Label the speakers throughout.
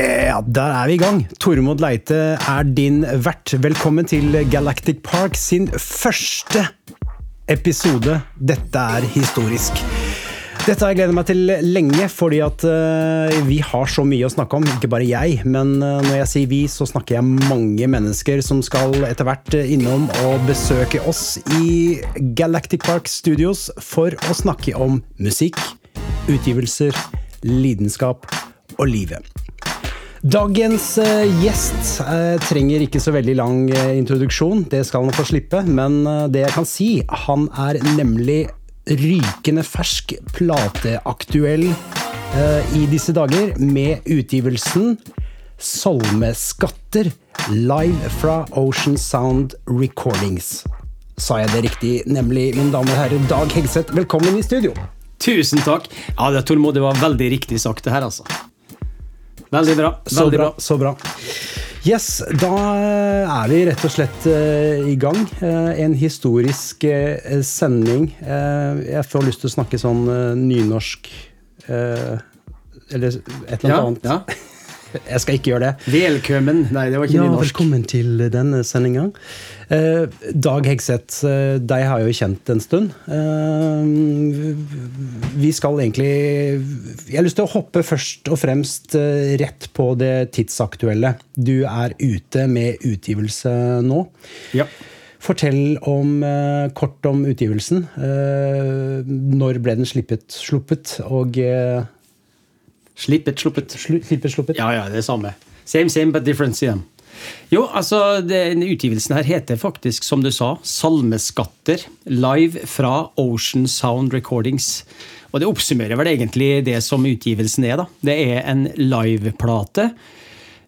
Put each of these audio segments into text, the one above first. Speaker 1: Ja, der er vi i gang. Tormod Leite er din vert. Velkommen til Galactic Park sin første episode. Dette er historisk. Dette har jeg gledet meg til lenge, fordi at eh, vi har så mye å snakke om. Ikke bare jeg, men eh, når jeg sier vi, så snakker jeg mange mennesker som skal etter hvert eh, innom og besøke oss i Galactic Park Studios for å snakke om musikk, utgivelser, lidenskap og livet. Dagens eh, gjest eh, trenger ikke så veldig lang eh, introduksjon, det skal han få slippe. Men eh, det jeg kan si, han er nemlig rykende fersk plateaktuell eh, i disse dager med utgivelsen Salmeskatter live fra Ocean Sound Recordings. Sa jeg det riktig, nemlig, mine damer og herrer, Dag Hegseth, velkommen i studio.
Speaker 2: Tusen takk. Ja, det, Tormod, det var veldig riktig sagt, det her, altså. Veldig bra.
Speaker 1: Så
Speaker 2: veldig
Speaker 1: bra,
Speaker 2: bra.
Speaker 1: så bra. Yes, da er vi rett og slett eh, i gang. Eh, en historisk eh, sending. Eh, jeg får lyst til å snakke sånn eh, nynorsk eh, Eller et eller
Speaker 2: Ja,
Speaker 1: annet
Speaker 2: ja.
Speaker 1: annet. Jeg skal ikke gjøre det.
Speaker 2: Velkommen. Nei, det var ikke
Speaker 1: Ja,
Speaker 2: nynorsk.
Speaker 1: velkommen til denne sendinga. Eh, Dag Hegseth, eh, deg har jeg jo kjent en stund. Eh, vi skal egentlig Jeg har lyst til å hoppe først og fremst eh, rett på det tidsaktuelle. Du er ute med utgivelse nå.
Speaker 2: Ja.
Speaker 1: Fortell om, eh, kort om utgivelsen. Eh, når ble den slippet, sluppet? Og eh,
Speaker 2: Slippet, sluppet.
Speaker 1: slu, slippet, sluppet?
Speaker 2: Ja, ja, det er samme. Same, same, but different, sier de. Jo, altså, den utgivelsen her heter faktisk, som du sa, Salmeskatter. Live fra Ocean Sound Recordings. Og det oppsummerer vel egentlig det som utgivelsen er, da. Det er en liveplate.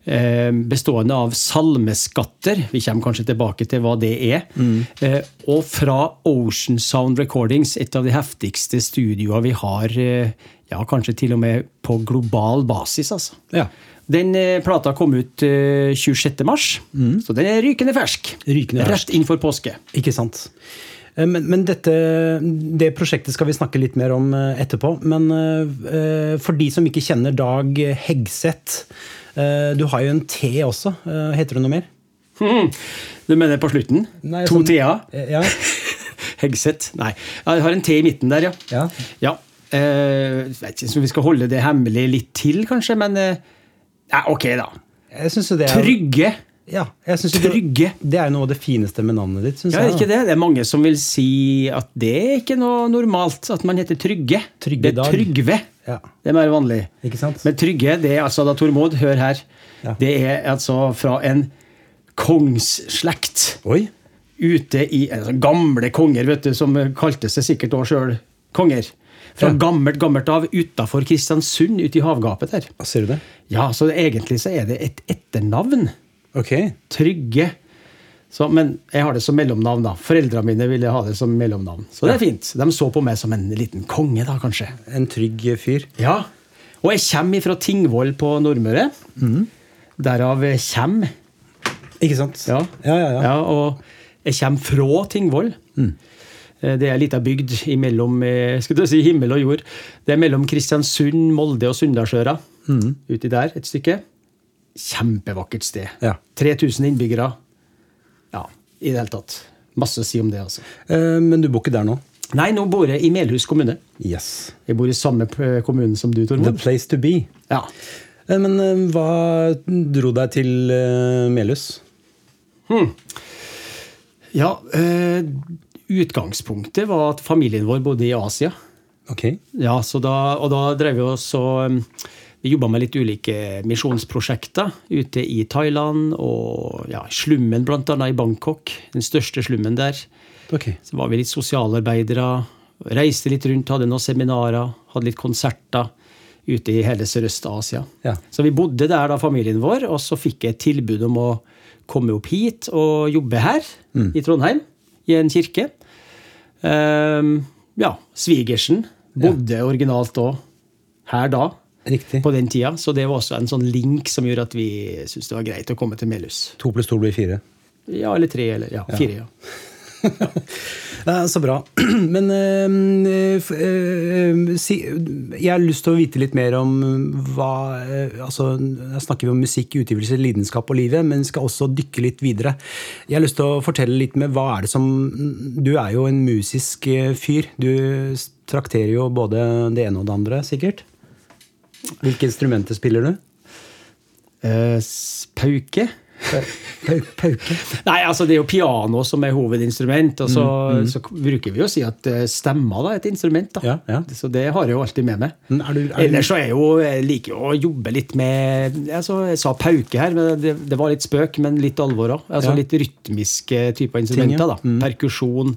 Speaker 2: eh, Bestående av salmeskatter, vi kommer kanskje tilbake til hva det er. eh, Og fra Ocean Sound Recordings, et av de heftigste studioene vi har, eh, ja, kanskje til og med på global basis, altså.
Speaker 1: Ja.
Speaker 2: Den eh, plata kom ut eh, 26. mars, så den er rykende fersk.
Speaker 1: Mm. Rykende fersk.
Speaker 2: Rett innenfor påske.
Speaker 1: Ikke sant. Eh, Men, men dette, det prosjektet skal vi snakke litt mer om eh, etterpå. Men eh, eh, for de som ikke kjenner Dag Hegseth eh, Du har jo en T også. Eh, Heter du noe mer?
Speaker 2: Hmm. Du mener på slutten?
Speaker 1: Nei,
Speaker 2: to
Speaker 1: sånn-
Speaker 2: T-er?
Speaker 1: Eh, Ja.
Speaker 2: Hegseth? Nei. Ja, Jeg har en T i midten der, ja.
Speaker 1: ja.
Speaker 2: ja. Eh, vet ikke om vi skal holde det hemmelig litt til, kanskje, men eh, ja, ok, da.
Speaker 1: Jeg syns jo det er
Speaker 2: Trygge.
Speaker 1: ja, jeg synes jo det,
Speaker 2: Trygge.
Speaker 1: det er jo noe av det fineste med navnet ditt, syns
Speaker 2: Ja,
Speaker 1: jeg.
Speaker 2: ikke
Speaker 1: da.
Speaker 2: det? det er mange som vil si at det er ikke noe normalt at man heter Trygge.
Speaker 1: Trygge
Speaker 2: det
Speaker 1: Dag.
Speaker 2: er Trygve.
Speaker 1: Ja.
Speaker 2: Det er mer vanlig.
Speaker 1: Ikke sant?
Speaker 2: Men Trygge, det er altså da Tormod, hør her.
Speaker 1: Ja.
Speaker 2: Det er altså fra en kongsslekt
Speaker 1: Oi.
Speaker 2: ute i altså, Gamle konger, vet du, som kalte seg sikkert òg sjøl konger. Fra
Speaker 1: Ja.
Speaker 2: gammelt, gammelt av utafor Kristiansund, ute i havgapet der.
Speaker 1: Hva Ser du det?
Speaker 2: Ja, så egentlig så er det et etternavn.
Speaker 1: Ok.
Speaker 2: Trygge. Så, men jeg har det som mellomnavn, da. Foreldra mine ville ha det som mellomnavn. Så det er fint. De så på meg som en liten konge, da, kanskje.
Speaker 1: En trygg fyr.
Speaker 2: Ja. Og jeg kommer fra Tingvoll på Nordmøre.
Speaker 1: Mm.
Speaker 2: Derav kjem.
Speaker 1: Ikke sant?
Speaker 2: Ja.
Speaker 1: ja, ja. Mm. ja.
Speaker 2: Ja, og jeg kommer fra Tingvoll. Eh, Det er ei lita bygd imellom eh, skulle jeg si himmel og jord. Det er mellom Kristiansund, Molde og Sunndalsøra.
Speaker 1: Mm.
Speaker 2: Uti der et stykke. Kjempevakkert sted.
Speaker 1: Ja.
Speaker 2: 3000 innbyggere. Ja, i det hele tatt. Masse å si om det, altså.
Speaker 1: Eh, Men du bor ikke der nå?
Speaker 2: Nei, nå bor jeg i Melhus kommune.
Speaker 1: Yes.
Speaker 2: Jeg bor i samme eh, kommune som du,
Speaker 1: The
Speaker 2: Tormod.
Speaker 1: place to be.
Speaker 2: Ja.
Speaker 1: Eh, Men eh, hva dro deg til eh, Melhus?
Speaker 2: ja eh, utgangspunktet var at familien vår bodde i Asia.
Speaker 1: Ok.
Speaker 2: Ja, så da, og da drev vi oss og um, vi jobba med litt ulike misjonsprosjekter ute i Thailand og ja, slummen bl.a. i Bangkok. Den største slummen der.
Speaker 1: Ok.
Speaker 2: Så var vi litt sosialarbeidere. Reiste litt rundt, hadde noen seminarer, hadde litt konserter ute i hele Sørøst-Asia.
Speaker 1: Ja.
Speaker 2: Så vi bodde der, da, familien vår, og så fikk jeg et tilbud om å komme opp hit og jobbe her i Trondheim, i en kirke. Ehm, ja, svigersen bodde originalt òg her da,
Speaker 1: Riktig.
Speaker 2: på den tida, så det var også en sånn link som gjorde at vi syntes det var greit å komme til Melhus.
Speaker 1: To pluss to blir fire.
Speaker 2: Ja, eller tre, eller ja, fire. ja.
Speaker 1: Det er så bra. Men eh, f- eh, si, jeg har lyst til å vite litt mer om hva eh, altså, Her snakker vi om musikk, utgivelse, lidenskap og livet, men skal også dykke litt videre. Jeg har lyst til å fortelle litt med hva er det som Du er jo en musisk eh, fyr. Du s- trakterer jo både det ene og det andre, sikkert. Hvilke instrumenter spiller du?
Speaker 2: Eh, s- pauke?
Speaker 1: Pau- Pauke.
Speaker 2: Nei, altså det er jo piano som er hovedinstrument, og så, så k- bruker vi å si at eh, stemmer da, er et instrument. da.
Speaker 1: Mm, Ja, ja.
Speaker 2: Så det har jeg jo alltid med meg.
Speaker 1: Men er du- er du-
Speaker 2: Ellers så er jeg jo, jeg liker jo å jobbe litt med altså, Jeg sa pauke her, men det, det var litt spøk, men litt alvor òg. Altså
Speaker 1: Ja.
Speaker 2: litt rytmiske
Speaker 1: Ting, ja.
Speaker 2: typer
Speaker 1: Mm.
Speaker 2: instrumenter. da. Perkusjon.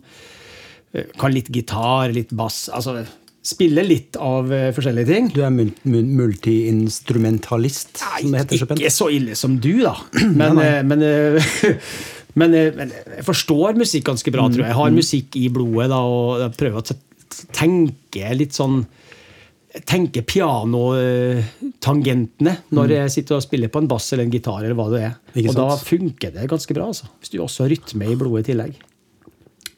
Speaker 2: eh, Kan litt gitar, litt bass. Altså spille litt av eh, forskjellige ting.
Speaker 1: Du er mul- mul- multiinstrumentalist, som det heter så pent.
Speaker 2: Ikke så ille som du, da. Men, eh, men, eh, men, eh, men jeg forstår musikk ganske bra, tror jeg. Jeg har musikk i blodet da, og jeg prøver å te- tenke litt sånn Tenke pianotangentene når jeg sitter og spiller på en bass eller en gitar. eller hva det er.
Speaker 1: Ikke
Speaker 2: Og da
Speaker 1: sant?
Speaker 2: funker det ganske bra, altså. hvis du også har rytme i blodet i tillegg.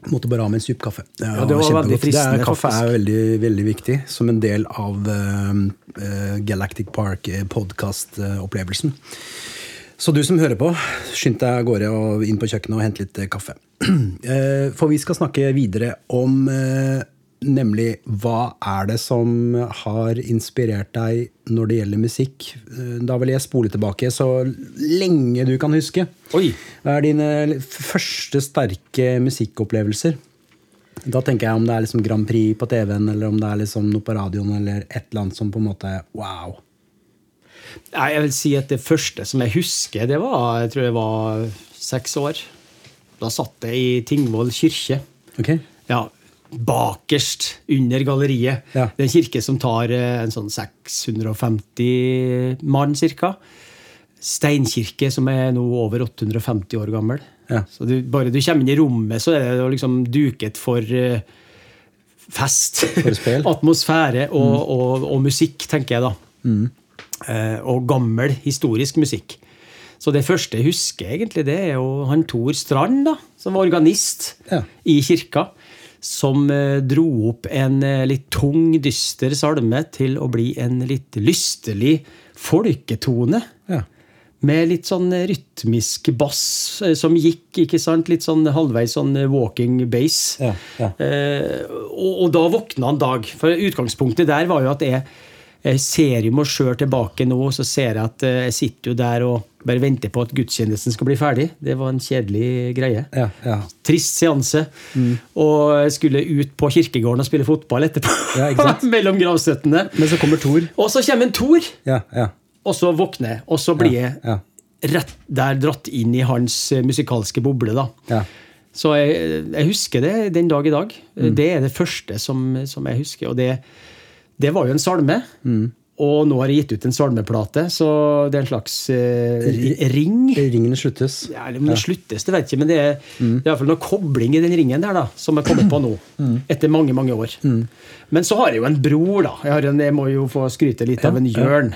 Speaker 1: Måtte bare ha med en sup kaffe.
Speaker 2: Ja, det var
Speaker 1: kjempegodt.
Speaker 2: veldig fristende,
Speaker 1: Det er, kaffe
Speaker 2: faktisk.
Speaker 1: er veldig, veldig viktig som en del av eh, eh, Galactic Park-podkast-opplevelsen. Så du som hører på, skynd deg av gårde og inn på kjøkkenet og hent litt eh, kaffe. Eh, For vi skal snakke videre om eh, nemlig hva er det som har inspirert deg når det gjelder musikk. Eh, Da vil jeg spole tilbake så lenge du kan huske.
Speaker 2: Oi.
Speaker 1: Hva er dine l- første sterke musikkopplevelser? Da tenker jeg om det er liksom Grand Prix på TV-en, eller om det er liksom noe på radioen, eller et eller annet som på en måte er wow.
Speaker 2: Nei, jeg vil si at det første som jeg husker, det var jeg tror jeg var seks år. Da satt jeg i Tingvoll kirke.
Speaker 1: Ok?
Speaker 2: Ja, bakerst under galleriet.
Speaker 1: Ja.
Speaker 2: Det er en kirke som tar eh, en sånn 650 mann, cirka. Steinkirke som er nå over 850 år gammel.
Speaker 1: Ja.
Speaker 2: Så du, bare du kommer inn i rommet, så er det jo liksom duket for eh, fest.
Speaker 1: For Mm. spel.
Speaker 2: Atmosfære og, og, og musikk, tenker jeg da.
Speaker 1: Mm.
Speaker 2: Eh, og gammel, historisk musikk. Så det første jeg husker, egentlig, det er jo han Tor Strand, da, som var organist
Speaker 1: Ja.
Speaker 2: i kirka, som eh, dro opp en eh, litt tung, dyster salme til å bli en litt lystelig folketone.
Speaker 1: Ja.
Speaker 2: Med litt sånn eh, rytmisk bass eh, som gikk, ikke sant? Litt sånn halvveis sånn eh, walking bass.
Speaker 1: Ja, ja.
Speaker 2: Eh, og, og da våkna han Dag. For utgangspunktet der var jo at jeg, jeg ser jo meg sjøl tilbake nå, så ser jeg at eh, jeg sitter jo der og bare venter på at gudstjenesten skal bli ferdig. Det var en kjedelig greie.
Speaker 1: Ja, ja.
Speaker 2: Trist seanse.
Speaker 1: Mm.
Speaker 2: Og jeg skulle ut på kirkegården og spille fotball etterpå.
Speaker 1: Ja, ikke sant?
Speaker 2: Mellom gravstøttene.
Speaker 1: Men så kommer Thor.
Speaker 2: Og så kommer en Tor.
Speaker 1: Ja, ja.
Speaker 2: Og så våkner jeg, og så blir
Speaker 1: Ja,
Speaker 2: jeg rett der dratt inn i hans eh, musikalske boble. da.
Speaker 1: Ja.
Speaker 2: Så jeg, jeg husker det den dag i dag.
Speaker 1: Mm.
Speaker 2: Det er det første som, som jeg husker. Og det, det var jo en salme.
Speaker 1: Mm.
Speaker 2: Og nå har jeg gitt ut en salmeplate, så det er en slags eh, ri- ring.
Speaker 1: Ringene sluttes.
Speaker 2: Ja, eller om det sluttes, det vet jeg ikke, men det er, det er i hvert fall noe kobling i den ringen der da, som jeg kommer på nå. Etter mange, mange år. Men så har jeg jo en bror, da. Jeg, har en, jeg må jo få skryte litt av en Jørn.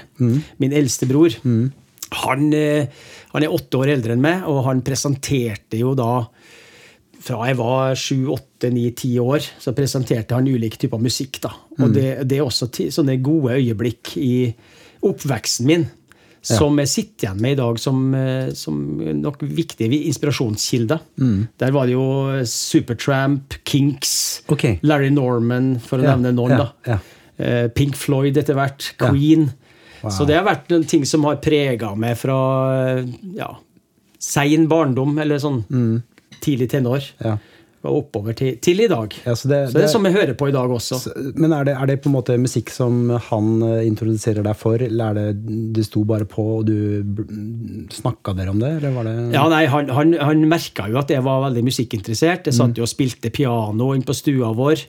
Speaker 2: Min eldste bror. Han, eh, han er åtte år eldre enn meg, og han presenterte jo da fra jeg var sju, åtte, ni, ti år, så presenterte han ulike typer musikk. da. Og
Speaker 1: Mm.
Speaker 2: det, det er også ti, sånne gode øyeblikk i oppveksten min som jeg sitter igjen med i dag som, eh, som nok viktige vi- inspirasjonskilder.
Speaker 1: Mm.
Speaker 2: Der var det jo Supertramp, Kinks,
Speaker 1: Ok.
Speaker 2: Larry Norman, for å
Speaker 1: Ja,
Speaker 2: nevne noen.
Speaker 1: ja,
Speaker 2: da.
Speaker 1: ja.
Speaker 2: Eh, Pink Floyd etter hvert, Queen. Så det har vært noen ting som har prega meg fra eh, ja, sein barndom, eller sånn
Speaker 1: Mm.
Speaker 2: tidlig tenår,
Speaker 1: Ja.
Speaker 2: og oppover til, til i dag.
Speaker 1: Ja, så det-
Speaker 2: så det
Speaker 1: det-
Speaker 2: er som jeg hører på i dag også.
Speaker 1: Men er det, er det på en måte musikk som han eh, introduserer deg for, eller er det det sto bare på, og du snakka dere om det, eller var det
Speaker 2: Ja, nei, Han, han, han merka jo at jeg var veldig musikkinteressert. Jeg
Speaker 1: Mm.
Speaker 2: satt jo og spilte piano inne på stua vår.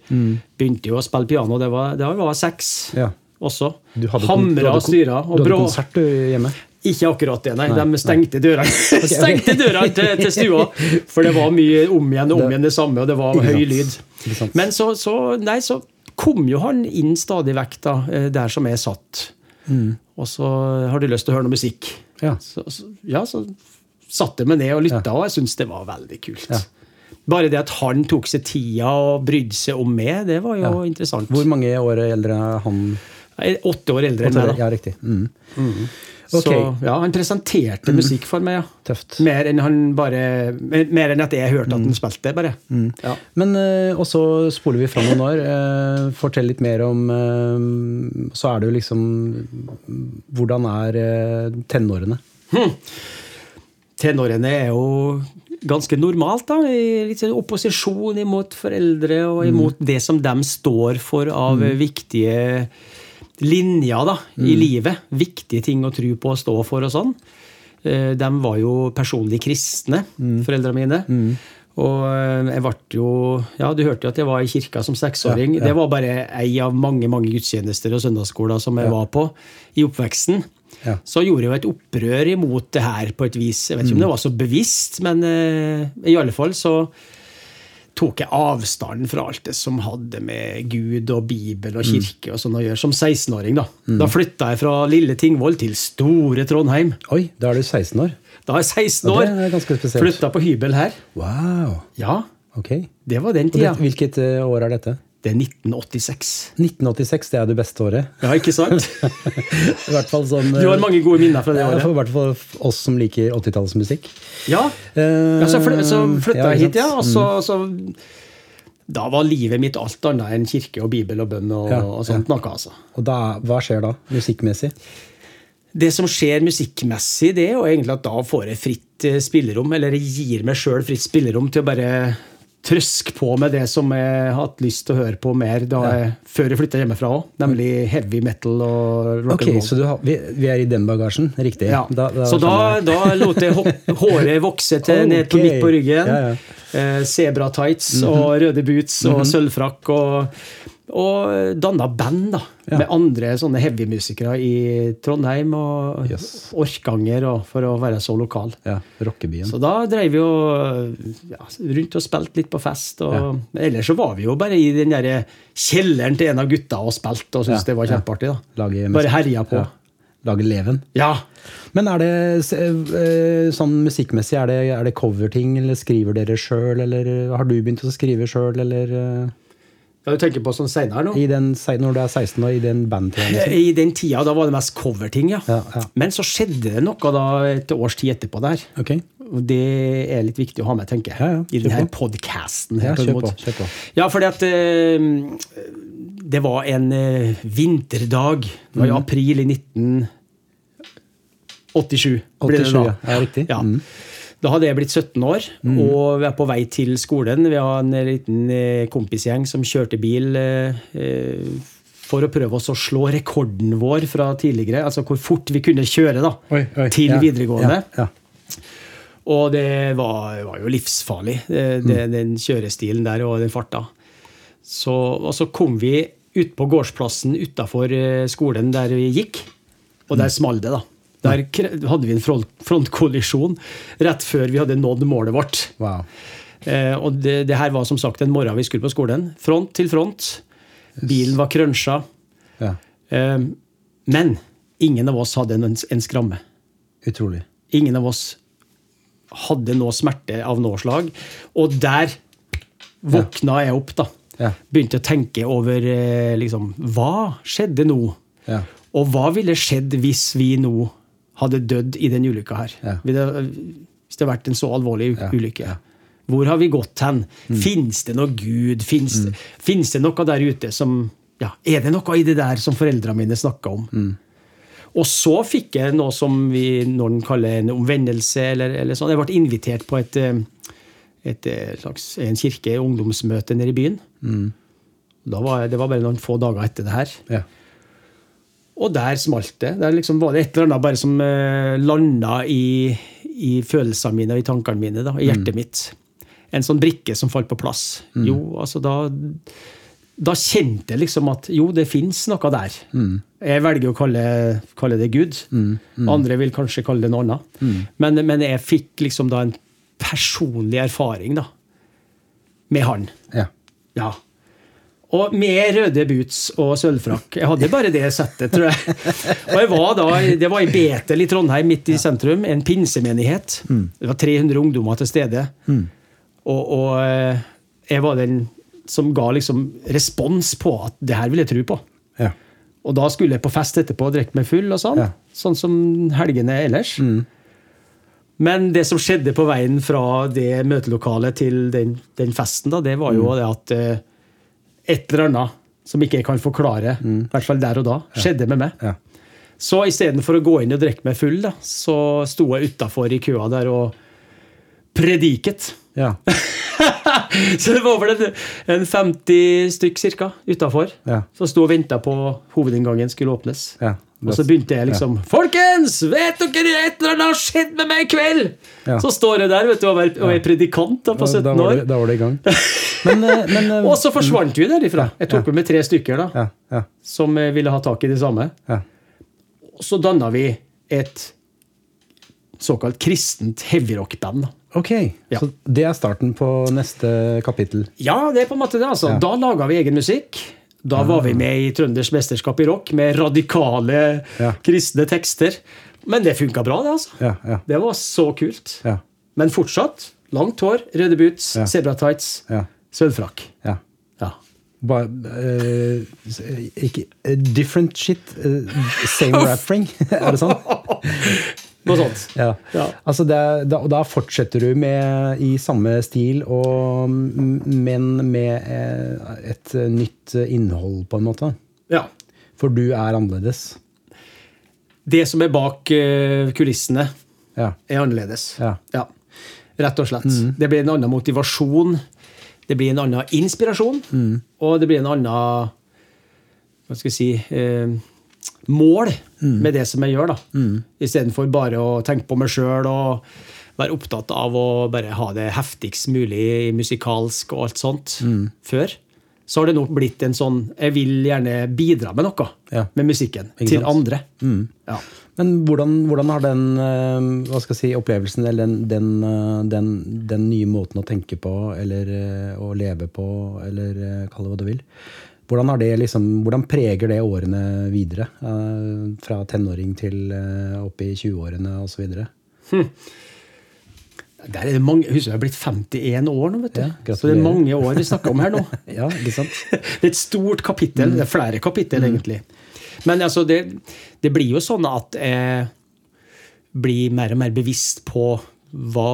Speaker 2: Begynte jo å spille piano det var, da jeg var seks
Speaker 1: Ja.
Speaker 2: også.
Speaker 1: Du hadde kon- du
Speaker 2: Hamra
Speaker 1: hadde
Speaker 2: og
Speaker 1: kon-
Speaker 2: styra.
Speaker 1: Du
Speaker 2: Og
Speaker 1: hadde
Speaker 2: brå.
Speaker 1: konsert du, hjemme?
Speaker 2: Ikke akkurat det, nei. De stengte dørene Stengte dørene til, til stua! For det var mye om igjen og om igjen det samme, og det var
Speaker 1: Ikke
Speaker 2: høy
Speaker 1: sant.
Speaker 2: lyd.
Speaker 1: Ikke sant.
Speaker 2: Men så, så, nei, så kom jo han inn stadig vekk da, eh, der som jeg satt.
Speaker 1: Mm.
Speaker 2: Og så har du lyst til å høre noe musikk.
Speaker 1: Ja.
Speaker 2: Så, så, ja, så satt jeg meg ned og lytta, og jeg syntes det var veldig kult. Bare det at han tok seg tida og brydde seg om meg, det var jo
Speaker 1: Ja.
Speaker 2: interessant.
Speaker 1: Hvor mange år eldre er han?
Speaker 2: Jeg er Åtte år eldre enn meg, da.
Speaker 1: Ja, riktig. Mm.
Speaker 2: Så
Speaker 1: Ok. Mm.
Speaker 2: ja, han presenterte musikk for meg, ja.
Speaker 1: Tøft.
Speaker 2: Mer enn han bare Mer enn at jeg hørte at han spilte, bare. Ja.
Speaker 1: Men eh, og så spoler vi fram noen år. Eh, fortell litt mer om eh, Så er det jo liksom Hvordan er eh, tenårene?
Speaker 2: tenårene er jo ganske normalt, da. i Litt sånn opposisjon imot foreldre og imot det som de står for av viktige linjer da, i livet. Viktige ting å tro på og stå for og sånn. Eh, De var jo personlig kristne, foreldrene mine. Og eh, jeg ble jo Ja, du hørte jo at jeg var i kirka som seksåring. Det var bare ei av mange mange gudstjenester og søndagsskoler som jeg var på i oppveksten.
Speaker 1: Ja.
Speaker 2: Så gjorde jeg jo et opprør imot det her på et vis. Jeg vet
Speaker 1: Mm.
Speaker 2: ikke om det var så bevisst, men eh, i alle fall så tok jeg avstanden fra alt det som hadde med Gud og Bibel
Speaker 1: Mm.
Speaker 2: og kirke og sånn å gjøre, som 16-åring. Da Da flytta jeg fra lille Tingvoll til store Trondheim.
Speaker 1: Oi, da er du 16 år.
Speaker 2: Da er jeg 16
Speaker 1: Ja,
Speaker 2: år.
Speaker 1: det er ganske spesielt.
Speaker 2: Flytta på hybel her.
Speaker 1: Wow.
Speaker 2: Ja,
Speaker 1: Ok. Og
Speaker 2: det var den
Speaker 1: det,
Speaker 2: tida.
Speaker 1: Hvilket eh, år er dette?
Speaker 2: Det er 1986.
Speaker 1: 1986, det er det beste året.
Speaker 2: Ja, ikke sant?
Speaker 1: I hvert fall sånn eh,
Speaker 2: Du har mange gode minner fra det
Speaker 1: Ja, for i
Speaker 2: året.
Speaker 1: hvert fall oss som liker Eh, 80-tallsmusikk.
Speaker 2: Ja, ja så flytta, så
Speaker 1: Mm,
Speaker 2: flytta jeg hit, ja. Og så, så Da var livet mitt alt annet enn kirke og bibel og bønn og,
Speaker 1: Ja,
Speaker 2: og sånt noe, altså.
Speaker 1: Og da, hva skjer da, musikkmessig?
Speaker 2: Det som skjer musikkmessig, det er jo egentlig at da får jeg fritt eh, spillerom, eller jeg gir meg sjøl fritt spillerom til å bare trøske på med det som jeg har hatt lyst til å høre på mer da jeg, før jeg flytta hjemmefra òg, nemlig heavy metal og rock
Speaker 1: Ok,
Speaker 2: and roll.
Speaker 1: så du har, vi, vi er i den bagasjen, riktig.
Speaker 2: Ja.
Speaker 1: Da- da
Speaker 2: så da,
Speaker 1: skjønner jeg.
Speaker 2: da lot jeg hå- håret vokse til ned på
Speaker 1: Ok.
Speaker 2: midt på ryggen.
Speaker 1: Ja, Mhm. ja.
Speaker 2: Eh, Sebra tights og røde boots og sølvfrakk. Og, og danna band da, med andre sånne heavymusikere i Trondheim og
Speaker 1: Yes.
Speaker 2: Orkanger, og, for å være så lokal.
Speaker 1: Ja, rockebyen.
Speaker 2: Så da drev vi jo ja, rundt og spilte litt på fest. Og, men Ellers så var vi jo bare i den der kjelleren til en av gutta og spilte og syntes
Speaker 1: Ja,
Speaker 2: det var
Speaker 1: ja.
Speaker 2: kjempeartig. da.
Speaker 1: Lage musikk.
Speaker 2: bare herja på.
Speaker 1: Ja. Lage leven.
Speaker 2: ja.
Speaker 1: Men er det s- eh, sånn musikkmessig, er det, er det coverting, eller skriver dere sjøl, eller eh, har du begynt å skrive sjøl, eller
Speaker 2: Ja, du tenker på sånn senere nå?
Speaker 1: eh, i den, se- når du er 16 og i den bandtiden? liksom?
Speaker 2: I den tida da var det mest coverting, ja.
Speaker 1: Ja, ja.
Speaker 2: Men så skjedde det noe da et års tid etterpå der.
Speaker 1: Ok,
Speaker 2: Og det er litt viktig å ha med, tenker jeg.
Speaker 1: Ja, ja,
Speaker 2: I
Speaker 1: kjør
Speaker 2: denne
Speaker 1: på.
Speaker 2: podkasten.
Speaker 1: Ja, kjør på, kjør på.
Speaker 2: Ja, fordi at eh, det var en eh, vinterdag. Det
Speaker 1: Mm.
Speaker 2: var i april i 1987. ble det
Speaker 1: 87,
Speaker 2: da.
Speaker 1: ja. Ja, riktig. Mm.
Speaker 2: Ja. Da hadde jeg blitt 17 år, og vi er på vei til skolen. Vi har en liten eh, kompisgjeng som kjørte bil eh, eh, for å prøve oss å slå rekorden vår fra tidligere, altså hvor fort vi kunne kjøre da, til
Speaker 1: ja,
Speaker 2: videregående.
Speaker 1: Ja, ja.
Speaker 2: Og det var, var jo livsfarlig, eh, det, den kjørestilen der og den farta. Så, og så kom vi ut på gårdsplassen utafor eh, skolen der vi gikk, og der smalt det, da. Der kre- hadde vi en front, frontkollisjon rett før vi hadde nådd målet vårt.
Speaker 1: Wow.
Speaker 2: Eh, og det, det her var som sagt en morgen vi skulle på skolen. Front til front. Bilen var krønsja.
Speaker 1: Ja.
Speaker 2: Eh, men ingen av oss hadde en, en skramme.
Speaker 1: Utrolig.
Speaker 2: Ingen av oss hadde noe smerte av noe slag. Og der våkna jeg opp, da.
Speaker 1: Ja.
Speaker 2: Begynte å tenke over eh, liksom, Hva skjedde nå?
Speaker 1: Ja.
Speaker 2: Og hva ville skjedd hvis vi nå hadde dødd i den ulykka her?
Speaker 1: Ja.
Speaker 2: Ville- Hvis det hadde vært en så alvorlig u-
Speaker 1: Ja, Mm.
Speaker 2: ulykke. Hvor har vi gått hen? Fins det noe Gud? Fins det, finnes det noe der ute som ja, Er det noe i det der som foreldrene mine snakka om?
Speaker 1: Mm.
Speaker 2: Og så fikk jeg noe som vi noen kaller en omvendelse. Eller, eller sånn. Jeg ble invitert på et, eh, et, eh, slags, en kirke, ungdomsmøte nede i byen.
Speaker 1: Mm.
Speaker 2: Da var, jeg- det var bare noen få dager etter det her.
Speaker 1: Ja.
Speaker 2: Og der smalt det. Der liksom var det et eller annet bare som eh, landa i, i følelsene mine og i tankene mine. Da, I hjertet mitt. En sånn brikke som falt på plass. Jo, altså da Da kjente jeg liksom at jo, det fins noe der. Jeg velger å kalle, kalle det Gud. Andre vil kanskje kalle det noe annet. Men, men jeg fikk liksom da en personlig erfaring da, med han.
Speaker 1: ja.
Speaker 2: Ja. Og med røde boots og sølvfrakk. Jeg hadde bare det settet, tror jeg. Og jeg var da, Det var i Betel i Trondheim, midt i sentrum. En pinsemenighet. Det var 300 ungdommer til stede. Og, og eh, jeg var den som ga liksom respons på at det her vil jeg tro på.
Speaker 1: Ja.
Speaker 2: Og da skulle jeg på fest etterpå og drikke meg full, og sånn.
Speaker 1: Ja.
Speaker 2: Sånn som helgene ellers. Men det som skjedde på veien fra det møtelokalet til den, den festen, da, det var jo det at eh, et eller annet som ikke jeg kan forklare, i hvert fall der og da, skjedde med meg.
Speaker 1: Ja.
Speaker 2: Så istedenfor å gå inn og drikke meg full, da, så sto jeg utafor i køa der og prediket.
Speaker 1: Ja.
Speaker 2: Så det var vel en, en 50 stykk cirka utafor.
Speaker 1: Ja.
Speaker 2: Som sto og venta på hovedinngangen skulle åpnes.
Speaker 1: Ja.
Speaker 2: Og så begynte jeg liksom Folkens! Vet dere et eller annet har skjedd med meg i kveld?!
Speaker 1: Ja.
Speaker 2: Så står jeg der vet du, og er, og er predikant da, på 17
Speaker 1: da, var
Speaker 2: år.
Speaker 1: det, da var det i gang. Men, eh, men eh,
Speaker 2: Og så forsvant vi derifra. Jeg tok med meg tre stykker da,
Speaker 1: ja, ja,
Speaker 2: som eh, ville ha tak i det samme.
Speaker 1: ja.
Speaker 2: Og så danna vi et såkalt kristent heavyrock-band. da.
Speaker 1: Ok,
Speaker 2: Ja.
Speaker 1: så det er starten på neste kapittel.
Speaker 2: Ja, det er på en måte det. altså.
Speaker 1: Ja.
Speaker 2: Da laga vi egen musikk. Da var vi med i Trønders mesterskap i rock med radikale
Speaker 1: Ja.
Speaker 2: kristne tekster. Men det funka bra, det. altså.
Speaker 1: Ja, ja,
Speaker 2: Det var så kult.
Speaker 1: ja,
Speaker 2: Men fortsatt langt hår, røde boots,
Speaker 1: Ja.
Speaker 2: sebratights,
Speaker 1: ja.
Speaker 2: sølvfrakk.
Speaker 1: ja.
Speaker 2: Ja.
Speaker 1: Bare eh, s- eh, ikke, eh, Different shit, eh, same wrapping. er det sånn?
Speaker 2: Noe sånt.
Speaker 1: Ja.
Speaker 2: Ja.
Speaker 1: Altså det er, da, og da fortsetter du med, i samme stil, og, m- men med eh, et eh, nytt eh, innhold, på en måte.
Speaker 2: Ja.
Speaker 1: For du er annerledes.
Speaker 2: Det som er bak eh, kulissene,
Speaker 1: Ja.
Speaker 2: er annerledes.
Speaker 1: Ja. Mm.
Speaker 2: Rett og slett. Det blir en annen motivasjon. Det blir en annen inspirasjon.
Speaker 1: Mm.
Speaker 2: Og det blir en annen Hva skal jeg si eh, Mål
Speaker 1: Mm.
Speaker 2: med det som jeg gjør, da. Istedenfor bare å tenke på meg sjøl og være opptatt av å bare ha det heftigst mulig musikalsk og alt sånt
Speaker 1: Mm.
Speaker 2: før. Så har det nå blitt en sånn Jeg vil gjerne bidra med noe
Speaker 1: Ja.
Speaker 2: med musikken.
Speaker 1: Ikke sant?
Speaker 2: til
Speaker 1: Mm.
Speaker 2: andre. Ja.
Speaker 1: Men hvordan, hvordan har den eh, hva skal jeg si, opplevelsen, eller den, den, eh, den, den nye måten å tenke på, eller eh, å leve på, eller eh, kall det hva du vil hvordan, har det liksom, hvordan preger det årene videre? eh, Fra tenåring til eh, opp i 20-årene osv.?
Speaker 2: Der er det mange, husk, jeg har blitt 51 år nå, vet du.
Speaker 1: Ja, gratulerer.
Speaker 2: så det er mange år vi snakker om her nå.
Speaker 1: Ja, ikke sant?
Speaker 2: Det er et stort kapittel. Det er flere kapittel, egentlig. Men altså, det, det blir jo sånn at jeg blir mer og mer bevisst på hva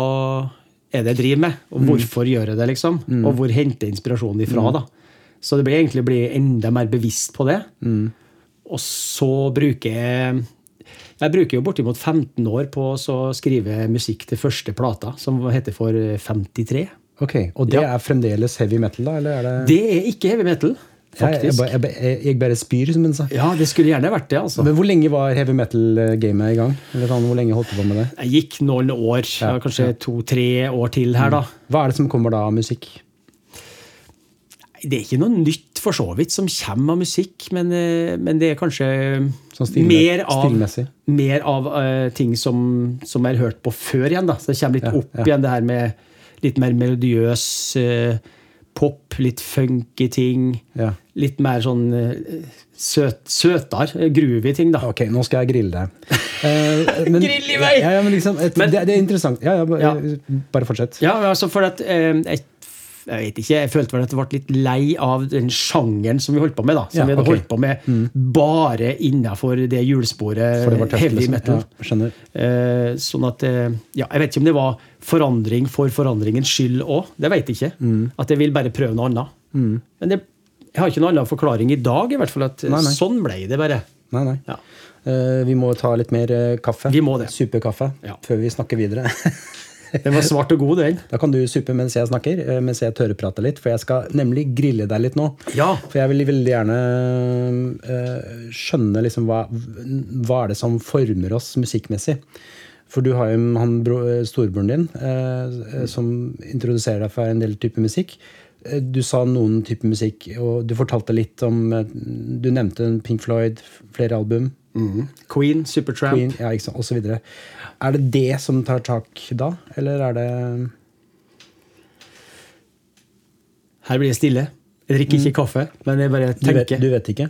Speaker 2: er det jeg driver med, og hvorfor gjør jeg det, liksom. Og hvor henter jeg inspirasjonen ifra, da. Så det blir egentlig å bli enda mer bevisst på det. Og så bruker jeg jeg bruker jo bortimot 15 år på å så skrive musikk til første plata, som heter for 53.
Speaker 1: Ok, Og det er fremdeles heavy metal, da? eller er det...
Speaker 2: Det er ikke heavy metal,
Speaker 1: Jeg, jeg,
Speaker 2: faktisk.
Speaker 1: bare- jeg, bare- jeg, jeg bare spyr, som hun sa.
Speaker 2: Ja, det skulle gjerne vært det, altså.
Speaker 1: Men hvor lenge var heavy metal-gamet i gang? Eller sånn, hvor lenge holdt du på med det?
Speaker 2: Jeg gikk noen år, ja, kanskje to-tre år til her, da.
Speaker 1: Hva er det som kommer da av musikk?
Speaker 2: Det er ikke noe nytt for så vidt som kommer av musikk, men, eh, men det er kanskje
Speaker 1: Sånn stilme-
Speaker 2: mer av,
Speaker 1: stilmessig.
Speaker 2: mer av eh, ting som, som jeg har hørt på før igjen. da. Så det kommer litt opp igjen, det her med litt mer melodiøs eh, pop, litt funky ting.
Speaker 1: Ja.
Speaker 2: Litt mer sånn eh, søt, søtere, eh, groovy ting, da.
Speaker 1: Ok, nå skal jeg grille deg. Eh, men-
Speaker 2: Grill i vei!
Speaker 1: Ja, ja, men liksom, et,
Speaker 2: Men-
Speaker 1: det, det er interessant. Ja, ja, ba-
Speaker 2: Ja.
Speaker 1: Bare fortsett.
Speaker 2: Ja, men altså for at eh, jeg, jeg vet ikke, jeg følte vel at jeg ble litt lei av den sjangeren som vi holdt på med. da, Som
Speaker 1: Ja,
Speaker 2: vi hadde
Speaker 1: ok. Mm.
Speaker 2: holdt på med bare innafor det hjulsporet
Speaker 1: For det var tøft,
Speaker 2: heavy
Speaker 1: liksom.
Speaker 2: metal.
Speaker 1: Ja, skjønner.
Speaker 2: Eh, sånn at eh, ja, Jeg vet ikke om det var forandring for forandringens skyld òg. Det vet jeg ikke.
Speaker 1: Mm.
Speaker 2: At jeg vil bare prøve noe annet. Men det, jeg har ikke noen annen forklaring i dag. i hvert fall at eh,
Speaker 1: Nei, nei.
Speaker 2: Sånn ble det bare.
Speaker 1: Nei, nei.
Speaker 2: Ja.
Speaker 1: Eh, vi må ta litt mer eh, kaffe.
Speaker 2: Vi må det.
Speaker 1: Supe kaffe
Speaker 2: Ja.
Speaker 1: før vi snakker videre.
Speaker 2: Den var svart og god, den.
Speaker 1: da kan du supe mens jeg snakker, eh, mens jeg tørreprater litt. For jeg skal nemlig grille deg litt nå.
Speaker 2: Ja.
Speaker 1: For jeg vil veldig gjerne eh, skjønne liksom hva, hva er det som former oss musikkmessig. For du har jo han bro, storebroren din eh, eh, som introduserer deg for en del typer musikk. Eh, Du sa noen typer musikk, og du fortalte litt om eh, Du nevnte Pink Floyd, flere album,
Speaker 2: Queen, Supertramp.
Speaker 1: Queen ja, ikke sant, osv. Er det det som tar tak da, eller er det
Speaker 2: Her blir det stille. Jeg drikker ikke kaffe, men jeg bare
Speaker 1: Mm. du
Speaker 2: tenker.
Speaker 1: vet, du vet ikke?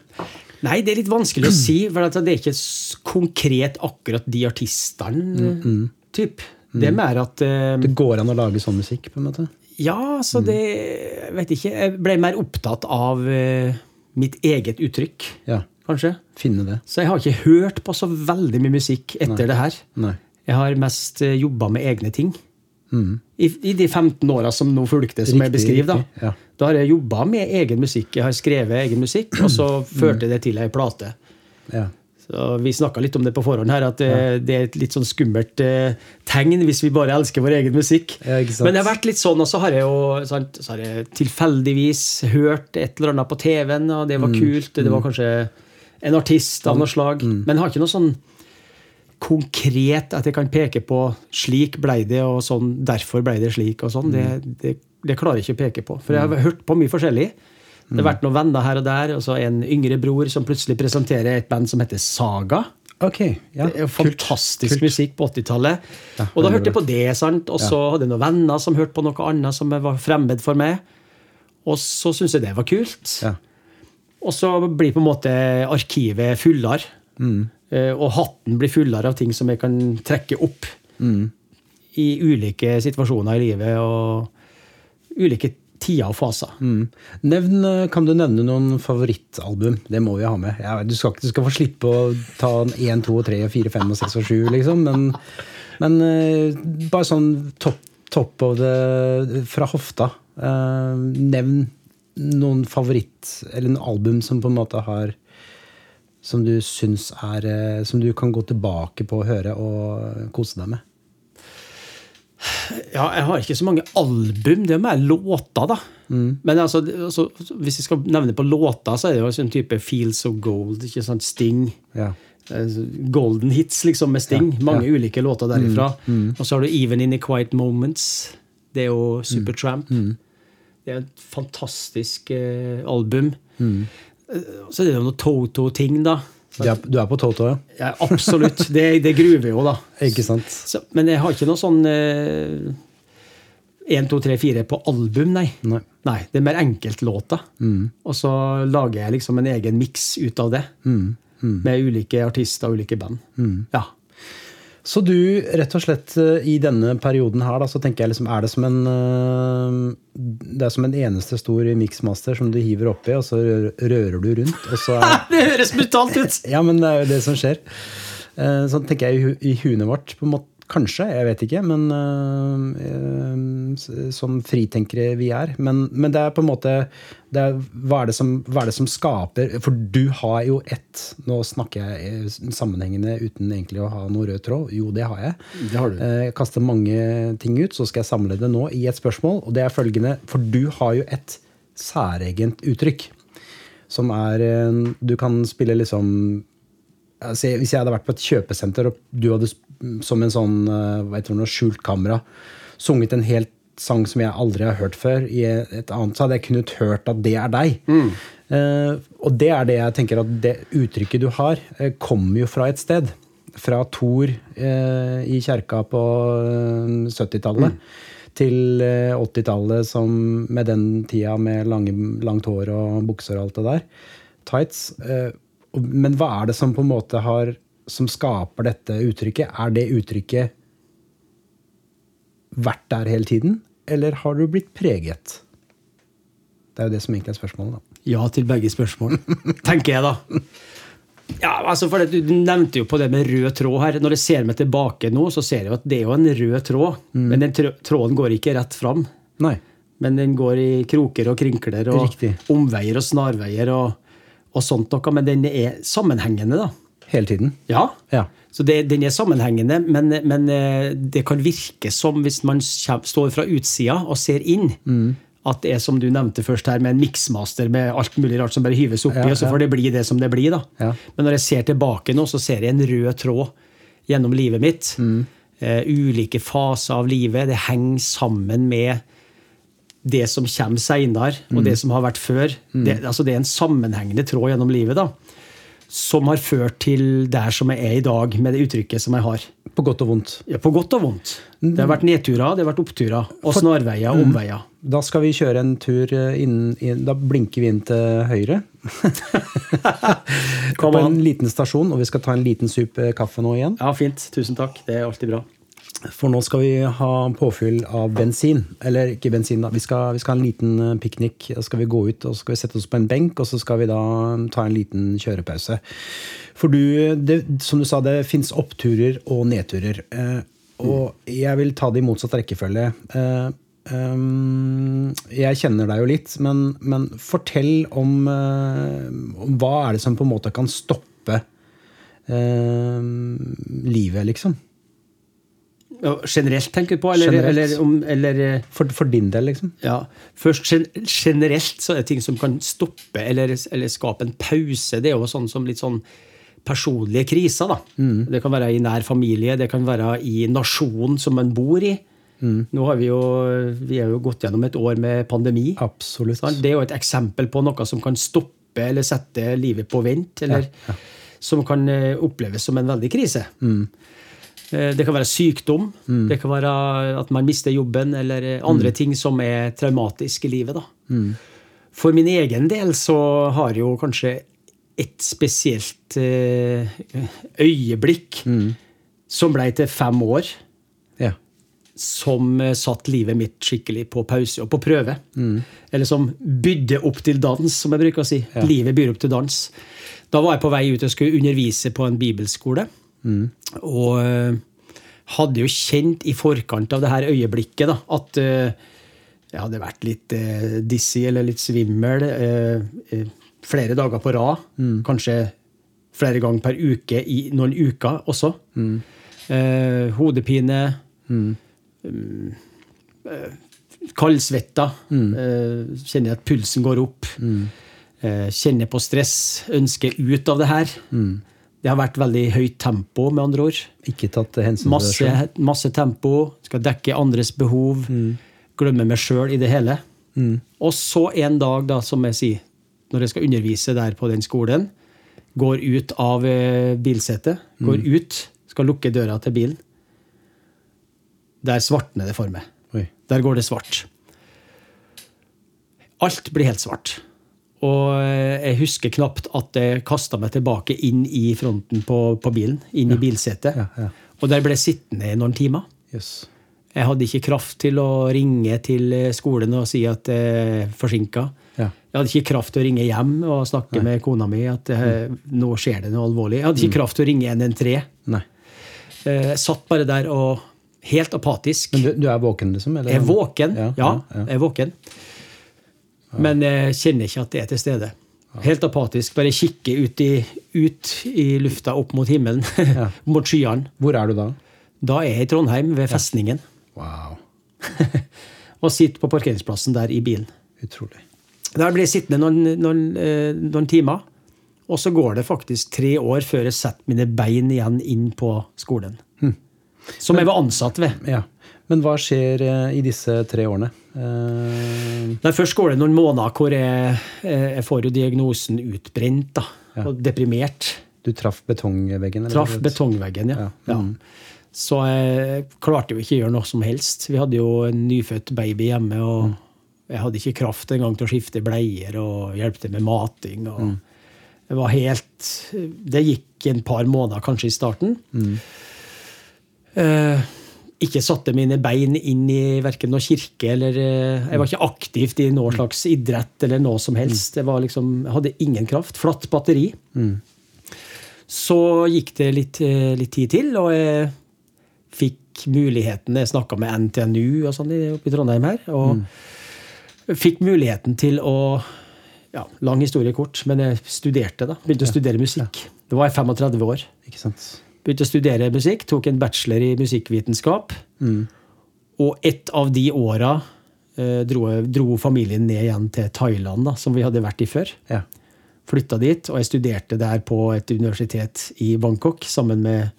Speaker 2: Nei, det er litt vanskelig å si, for at det er ikke s- konkret akkurat de
Speaker 1: Mm.
Speaker 2: artistene. typ. Det er mer at eh,
Speaker 1: Det går an å lage sånn musikk, på en måte?
Speaker 2: Ja, så det
Speaker 1: Mm.
Speaker 2: Jeg vet ikke. Jeg ble mer opptatt av eh, mitt eget uttrykk,
Speaker 1: Ja,
Speaker 2: kanskje.
Speaker 1: finne det.
Speaker 2: Så jeg har ikke hørt på så veldig mye musikk etter det her.
Speaker 1: Nei.
Speaker 2: Jeg har mest eh, jobba med egne ting. I, I de 15 åra som nå fulgte, som jeg
Speaker 1: Mm. Riktig,
Speaker 2: beskriver,
Speaker 1: riktig,
Speaker 2: da.
Speaker 1: ja.
Speaker 2: Da har jeg jobba med egen musikk. Jeg har skrevet egen musikk, og
Speaker 1: Mm.
Speaker 2: så førte det til ei plate.
Speaker 1: Ja.
Speaker 2: Så vi snakka litt om det på forhånd her, at eh, det er et litt sånn skummelt eh, tegn hvis vi bare elsker vår egen musikk.
Speaker 1: Ja, ikke sant.
Speaker 2: Men det har vært litt sånn, og så har jeg jo sant, så har jeg tilfeldigvis hørt et eller annet på TV-en, og det var
Speaker 1: Mm.
Speaker 2: kult. Det var kanskje en artist av noe slag.
Speaker 1: mm.
Speaker 2: Men jeg har ikke noe sånn konkret at jeg kan peke på slik blei det, og sånn, derfor blei det slik, og sånn. Det,
Speaker 1: Mm.
Speaker 2: det, det klarer jeg ikke å peke på. For jeg har hørt på mye forskjellig. Det
Speaker 1: Mm.
Speaker 2: har vært noen venner her og der, og så en yngre bror som plutselig presenterer et band som heter Saga.
Speaker 1: Ok. Ja.
Speaker 2: Det er jo fantastisk musikk på 80-tallet. og da
Speaker 1: veldig
Speaker 2: hørte jeg på det, sant? og så hadde jeg noen venner som hørte på noe annet som var fremmed for meg. Og så syntes jeg det var kult.
Speaker 1: Ja.
Speaker 2: Og så blir på en måte arkivet fullere. Eh, Og hatten blir fullere av ting som jeg kan trekke opp i ulike situasjoner i livet og ulike tider og faser.
Speaker 1: Mm. Nevn, eh, kan du nevne noen favorittalbum? Det må vi ha med. Ja, du, skal, ikke- du skal få slippe å ta en 1, 2, 3, 4, 5, 6 og 7, liksom. Men, men eh, bare sånn topp top of the fra hofta. Eh, nevn noen favoritt, eller en album som på en måte har Som du syns er eh, Som du kan gå tilbake på å høre og kose deg med.
Speaker 2: Ja, jeg har ikke så mange album, det er mer låter, da. Men altså, det- altså, hvis jeg skal nevne på låter, så er det jo en type Feel So Gold, ikke sant? Sting.
Speaker 1: Ja.
Speaker 2: Eh, Golden hits, liksom, med Sting. Mange ulike låter derifra. Og så har du Even In The Quiet Moments. Det er jo Supertramp. Det er et fantastisk eh, album. Eh, Så er det jo noe Toto-ting, da.
Speaker 1: Du er, du er på Toto, ja?
Speaker 2: Ja, absolutt. det, det gruver jo, da.
Speaker 1: Ikke sant?
Speaker 2: Så, men jeg har ikke noe sånn eh, 1, 2, 3, 4 på album, nei.
Speaker 1: Nei.
Speaker 2: det er mer enkeltlåter. Og så lager jeg liksom en egen miks ut av det. Med ulike artister og ulike band. Ja.
Speaker 1: Så du, rett og slett eh, i denne perioden her, da, så tenker jeg liksom, er det som en eh, Det er som en eneste stor miksmaster som du hiver oppi, og så rø- rører du rundt, og så er
Speaker 2: Det høres brutalt ut!
Speaker 1: Ja, men det er jo det som skjer. Eh, Sånn tenker jeg i hu- i huene vårt, på en måte. Kanskje, jeg vet ikke, men eh, eh, s- som fritenkere vi er. Men, men det er på en måte det er, hva, er det som, hva er det som skaper For du har jo ett Nå snakker jeg eh, s- sammenhengende uten egentlig å ha noe rød tråd. Jo, det har jeg.
Speaker 2: Det har du.
Speaker 1: Eh, Jeg kaster mange ting ut, så skal jeg samle det nå i et spørsmål. Og det er følgende, for du har jo et særegent uttrykk. Som er en- Du kan spille liksom altså, Hvis jeg hadde vært på et kjøpesenter, og du hadde sp- som en sånn eh, hva heter det, noe skjult kamera sunget en helt sang som jeg aldri har hørt før, i et annet, så hadde jeg kunnet hørt at det er deg. Eh, og det er det jeg tenker at det uttrykket du har, eh, kommer jo fra et sted. Fra Thor eh, i kjerka på eh, 70-tallet til eh, 80-tallet som- med den tida med lange, langt hår og bukser og alt det der. Tights. eh, og- Men hva er det som på en måte har som skaper dette uttrykket? Er det uttrykket vært der hele tiden, eller har du blitt preget? Det er jo det som egentlig er spørsmålet, da.
Speaker 2: Ja til begge spørsmål, tenker jeg, da. Ja, altså for det, Du nevnte jo på det med rød tråd her. Når jeg ser meg tilbake nå, så ser jeg jo at det er jo en rød tråd. Men den trå- tråden går ikke rett fram.
Speaker 1: Nei.
Speaker 2: Men den går i kroker og krinkler og
Speaker 1: Riktig.
Speaker 2: omveier og snarveier og, og sånt noe. Men den er sammenhengende, da.
Speaker 1: Hele tiden.
Speaker 2: Ja.
Speaker 1: Ja.
Speaker 2: Så det, den er sammenhengende, men, men eh, det kan virke som, hvis man kjem- står fra utsida og ser inn,
Speaker 1: Mm.
Speaker 2: at det er som du nevnte først her, med en miksmaster med alt mulig rart som bare hyves oppi,
Speaker 1: Ja,
Speaker 2: og så
Speaker 1: ja.
Speaker 2: får det bli det som det blir. da.
Speaker 1: Ja.
Speaker 2: Men når jeg ser tilbake nå, så ser jeg en rød tråd gjennom livet mitt. Eh, ulike faser av livet. Det henger sammen med det som kommer seinere, og det som har vært før. Det, altså det er en sammenhengende tråd gjennom livet da, som har ført til der som jeg er i dag, med det uttrykket som jeg har.
Speaker 1: På godt og vondt.
Speaker 2: Ja, på godt og vondt. Det har vært nedturer, det har vært oppturer, og snarveier og omveier.
Speaker 1: Da skal vi kjøre en tur eh, inn, inn Da blinker vi inn til høyre.
Speaker 2: Kom
Speaker 1: på
Speaker 2: an.
Speaker 1: en liten stasjon, og vi skal ta en liten sup eh, kaffe nå igjen.
Speaker 2: Ja, fint. Tusen takk. Det er alltid bra.
Speaker 1: For nå skal vi ha påfyll av bensin. Eller ikke bensin, da. Vi skal, vi skal ha en liten eh, piknik. Da skal vi gå ut og så skal vi sette oss på en benk, og så skal vi da mm, ta en liten kjørepause. For du, det, som du sa, det fins oppturer og nedturer. Eh, og jeg vil ta det i motsatt rekkefølge. Eh, ehm, jeg kjenner deg jo litt, men, men fortell om, eh, om hva er det som på en måte kan stoppe eh, livet, liksom.
Speaker 2: Ja, Generelt tenker du på, eller,
Speaker 1: Generelt.
Speaker 2: eller, om, eller eh,
Speaker 1: For, for din del, liksom?
Speaker 2: Ja. Først gen generelt så er det ting som kan stoppe eller, eller skape en pause. Det er jo sånn som litt sånn personlige kriser, da. Det kan være i nær familie, det kan være i nasjonen som man bor i. Nå har vi jo vi har jo gått gjennom et år med pandemi.
Speaker 1: Absolutt.
Speaker 2: Sant? Det er jo et eksempel på noe som kan stoppe eller sette livet på vent, eller som kan eh, oppleves som en veldig krise. Eh, Det kan være sykdom, det kan være at man mister jobben, eller eh, andre ting som er traumatiske i livet. Da. For min egen del så har jo kanskje et spesielt eh, øyeblikk som blei til fem år
Speaker 1: Ja.
Speaker 2: som eh, satt livet mitt skikkelig på pause og på prøve. Eller som bydde opp til dans, som jeg bruker å si. Livet byr opp til dans. Da var jeg på vei ut og skulle undervise på en bibelskole. Og eh, hadde jo kjent i forkant av det her øyeblikket da, at eh, jeg hadde vært litt eh, dizzy eller litt svimmel eh, eh, flere dager på rad. Kanskje flere ganger per uke i noen uker også. Eh, hodepine. Kaldsvetta. eh, Kjenner at pulsen går opp. eh, Kjenner på stress. Ønsker ut av det her. Det har vært veldig høyt tempo, med andre ord.
Speaker 1: Ikke tatt hensyn til det. selv.
Speaker 2: Masse, masse tempo. Skal dekke andres behov. Glemme meg sjøl i det hele. Og så en dag, da, som jeg sier, når jeg skal undervise der på den skolen, går ut av eh, bilsetet, går ut, skal lukke døra til bilen. Der svartner det for meg.
Speaker 1: Oi.
Speaker 2: Der går det svart. Alt blir helt svart. Og eh, jeg husker knapt at jeg kasta meg tilbake inn i fronten på, på bilen. Inn i bilsetet.
Speaker 1: Ja, ja.
Speaker 2: Og der ble jeg sittende i noen timer.
Speaker 1: Jøss.
Speaker 2: Jeg hadde ikke kraft til å ringe til eh, skolen og si at jeg er forsinka.
Speaker 1: Ja.
Speaker 2: Jeg hadde ikke kraft til å ringe hjem og snakke med kona mi at eh,
Speaker 1: Mm.
Speaker 2: nå skjer det noe alvorlig. Jeg hadde ikke kraft til å ringe 113.
Speaker 1: Nei.
Speaker 2: Eh, Jeg satt bare der og helt apatisk.
Speaker 1: Men du, du er våken, liksom? Eller?
Speaker 2: Jeg er våken. Ja,
Speaker 1: Ja, ja,
Speaker 2: jeg er våken. Men jeg kjenner ikke at det er til stede. Helt apatisk. Bare kikke ut i, ut i lufta, opp mot himmelen,
Speaker 1: Ja.
Speaker 2: mot skyene.
Speaker 1: Hvor er du da?
Speaker 2: Da er jeg i Trondheim, ved festningen,
Speaker 1: Wow.
Speaker 2: og sitter på parkeringsplassen der i bilen.
Speaker 1: Utrolig.
Speaker 2: Der blir jeg sittende noen, noen, eh, noen timer, og så går det faktisk tre år før jeg setter mine bein igjen inn på skolen.
Speaker 1: Hm.
Speaker 2: Som jeg var ansatt ved.
Speaker 1: Ja. Men hva skjer eh, i disse tre årene? Eh,
Speaker 2: Nei, Først går det noen måneder hvor jeg, eh, jeg får jo diagnosen utbrent da, og deprimert.
Speaker 1: du traff betongveggen? eller?
Speaker 2: Traff betongveggen,
Speaker 1: Ja.
Speaker 2: ja. ja. Så jeg klarte jo ikke å gjøre noe som helst. Vi hadde jo en nyfødt baby hjemme, og jeg hadde ikke kraft engang til å skifte bleier og hjelpe til med mating. og Det var helt Det gikk en par måneder kanskje i starten. Eh, ikke satte mine bein inn i verken noe kirke eller eh, Jeg var ikke aktivt i noe slags idrett eller noe som helst. Det var liksom, jeg hadde ingen kraft. Flatt batteri. Så gikk det litt, eh, litt tid til, og jeg fikk muligheten Jeg snakka med NTNU og sånn i- oppe i Trondheim her. Og fikk muligheten til å ja, Lang historie kort, men jeg studerte, da. Begynte å studere musikk. Da var jeg 35 år.
Speaker 1: Ikke sant?
Speaker 2: Begynte å studere musikk, tok en bachelor i musikkvitenskap. Og ett av de åra eh, dro, dro familien ned igjen til Thailand, da, som vi hadde vært i før
Speaker 1: Ja.
Speaker 2: flytta dit, og jeg studerte der på et universitet i Bangkok sammen med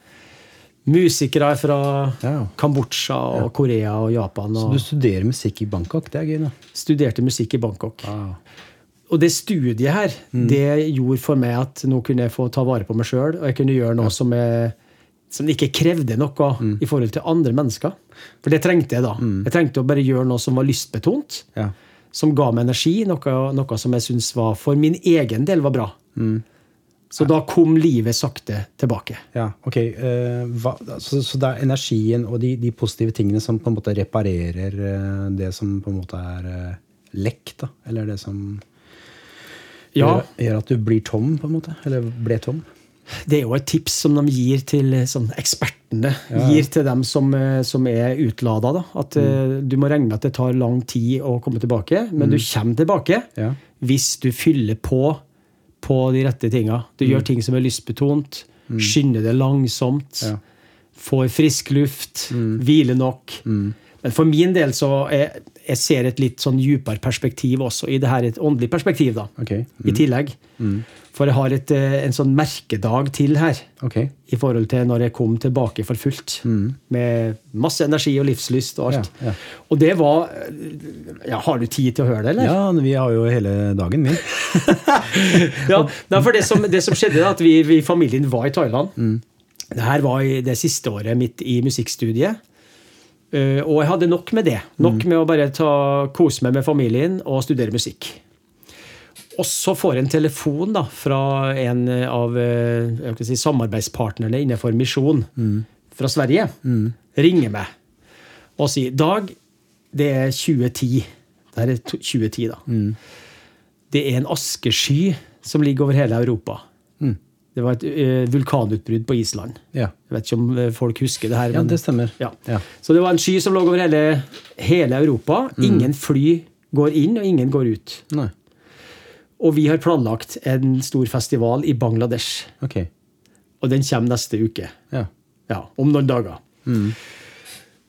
Speaker 2: musikere fra
Speaker 1: Ja.
Speaker 2: Kambodsja og Korea og Japan.
Speaker 1: Så
Speaker 2: Og
Speaker 1: du studerer musikk i Bangkok? Det er gøy, da.
Speaker 2: studerte musikk i Bangkok. Og det studiet her,
Speaker 1: Mm.
Speaker 2: det gjorde for meg at nå kunne jeg få ta vare på meg sjøl, og jeg kunne gjøre noe som, jeg, som ikke krevde noe
Speaker 1: Mm.
Speaker 2: i forhold til andre mennesker. For det trengte jeg da. Jeg trengte å bare gjøre noe som var lystbetont
Speaker 1: Ja.
Speaker 2: som ga meg energi, noe, noe som jeg syntes var for min egen del var bra. Så da kom livet sakte tilbake.
Speaker 1: Ja, ok. eh, hva, så, så det er energien og de, de positive tingene som på en måte reparerer eh, det som på en måte er eh, lekk, da? Eller det som
Speaker 2: Ja,
Speaker 1: gjør, gjør at du blir tom, på en måte? Eller ble tom?
Speaker 2: Det er jo et tips som de gir til eh, sånn, ekspertene. Gir til dem som, eh, som er utlada. Da. At eh, du må regne med at det tar lang tid å komme tilbake, men du kommer tilbake
Speaker 1: Ja.
Speaker 2: hvis du fyller på på de rette tinga. Du
Speaker 1: Mm.
Speaker 2: gjør ting som er lystbetont, skynder deg langsomt,
Speaker 1: Ja. Mm.
Speaker 2: får frisk luft, hviler nok. Men for min del så er, jeg ser et litt sånn djupere perspektiv også, i det her et åndelig perspektiv, da.
Speaker 1: Ok. Mm.
Speaker 2: I tillegg. For jeg har et, eh, en sånn merkedag til her.
Speaker 1: Ok.
Speaker 2: I forhold til når jeg kom tilbake for fullt. Med masse energi og livslyst og alt.
Speaker 1: Mm. Ja, ja.
Speaker 2: Og det var ja, Har du tid til å høre det, eller?
Speaker 1: Ja, vi har jo hele dagen min.
Speaker 2: Ja, nei, for det som, det som skjedde, da, at vi, vi familien var i Thailand. Det her var i det siste året mitt i musikkstudiet. Eh, og jeg hadde nok med det. Nok med å bare ta, kose meg med familien og studere musikk. Og så får jeg en telefon da, fra en av eh, jeg kan si, samarbeidspartnerne innenfor Misjon fra Sverige. Ringer meg og sier Dag, det er 2010. Det her er to- 2010, da det er en askesky som ligger over hele Europa.
Speaker 1: Mm.
Speaker 2: Det var et eh, vulkanutbrudd på Island.
Speaker 1: Ja.
Speaker 2: Jeg vet ikke om eh, folk husker det her.
Speaker 1: Ja, det stemmer.
Speaker 2: Ja.
Speaker 1: Ja.
Speaker 2: Så det var en sky som lå over hele, hele Europa.
Speaker 1: Mm.
Speaker 2: Ingen fly går inn, og ingen går ut.
Speaker 1: Nei.
Speaker 2: Og vi har planlagt en stor festival i Bangladesh.
Speaker 1: Ok.
Speaker 2: Og den kommer neste uke.
Speaker 1: Ja.
Speaker 2: Ja, om noen dager.
Speaker 1: Mm.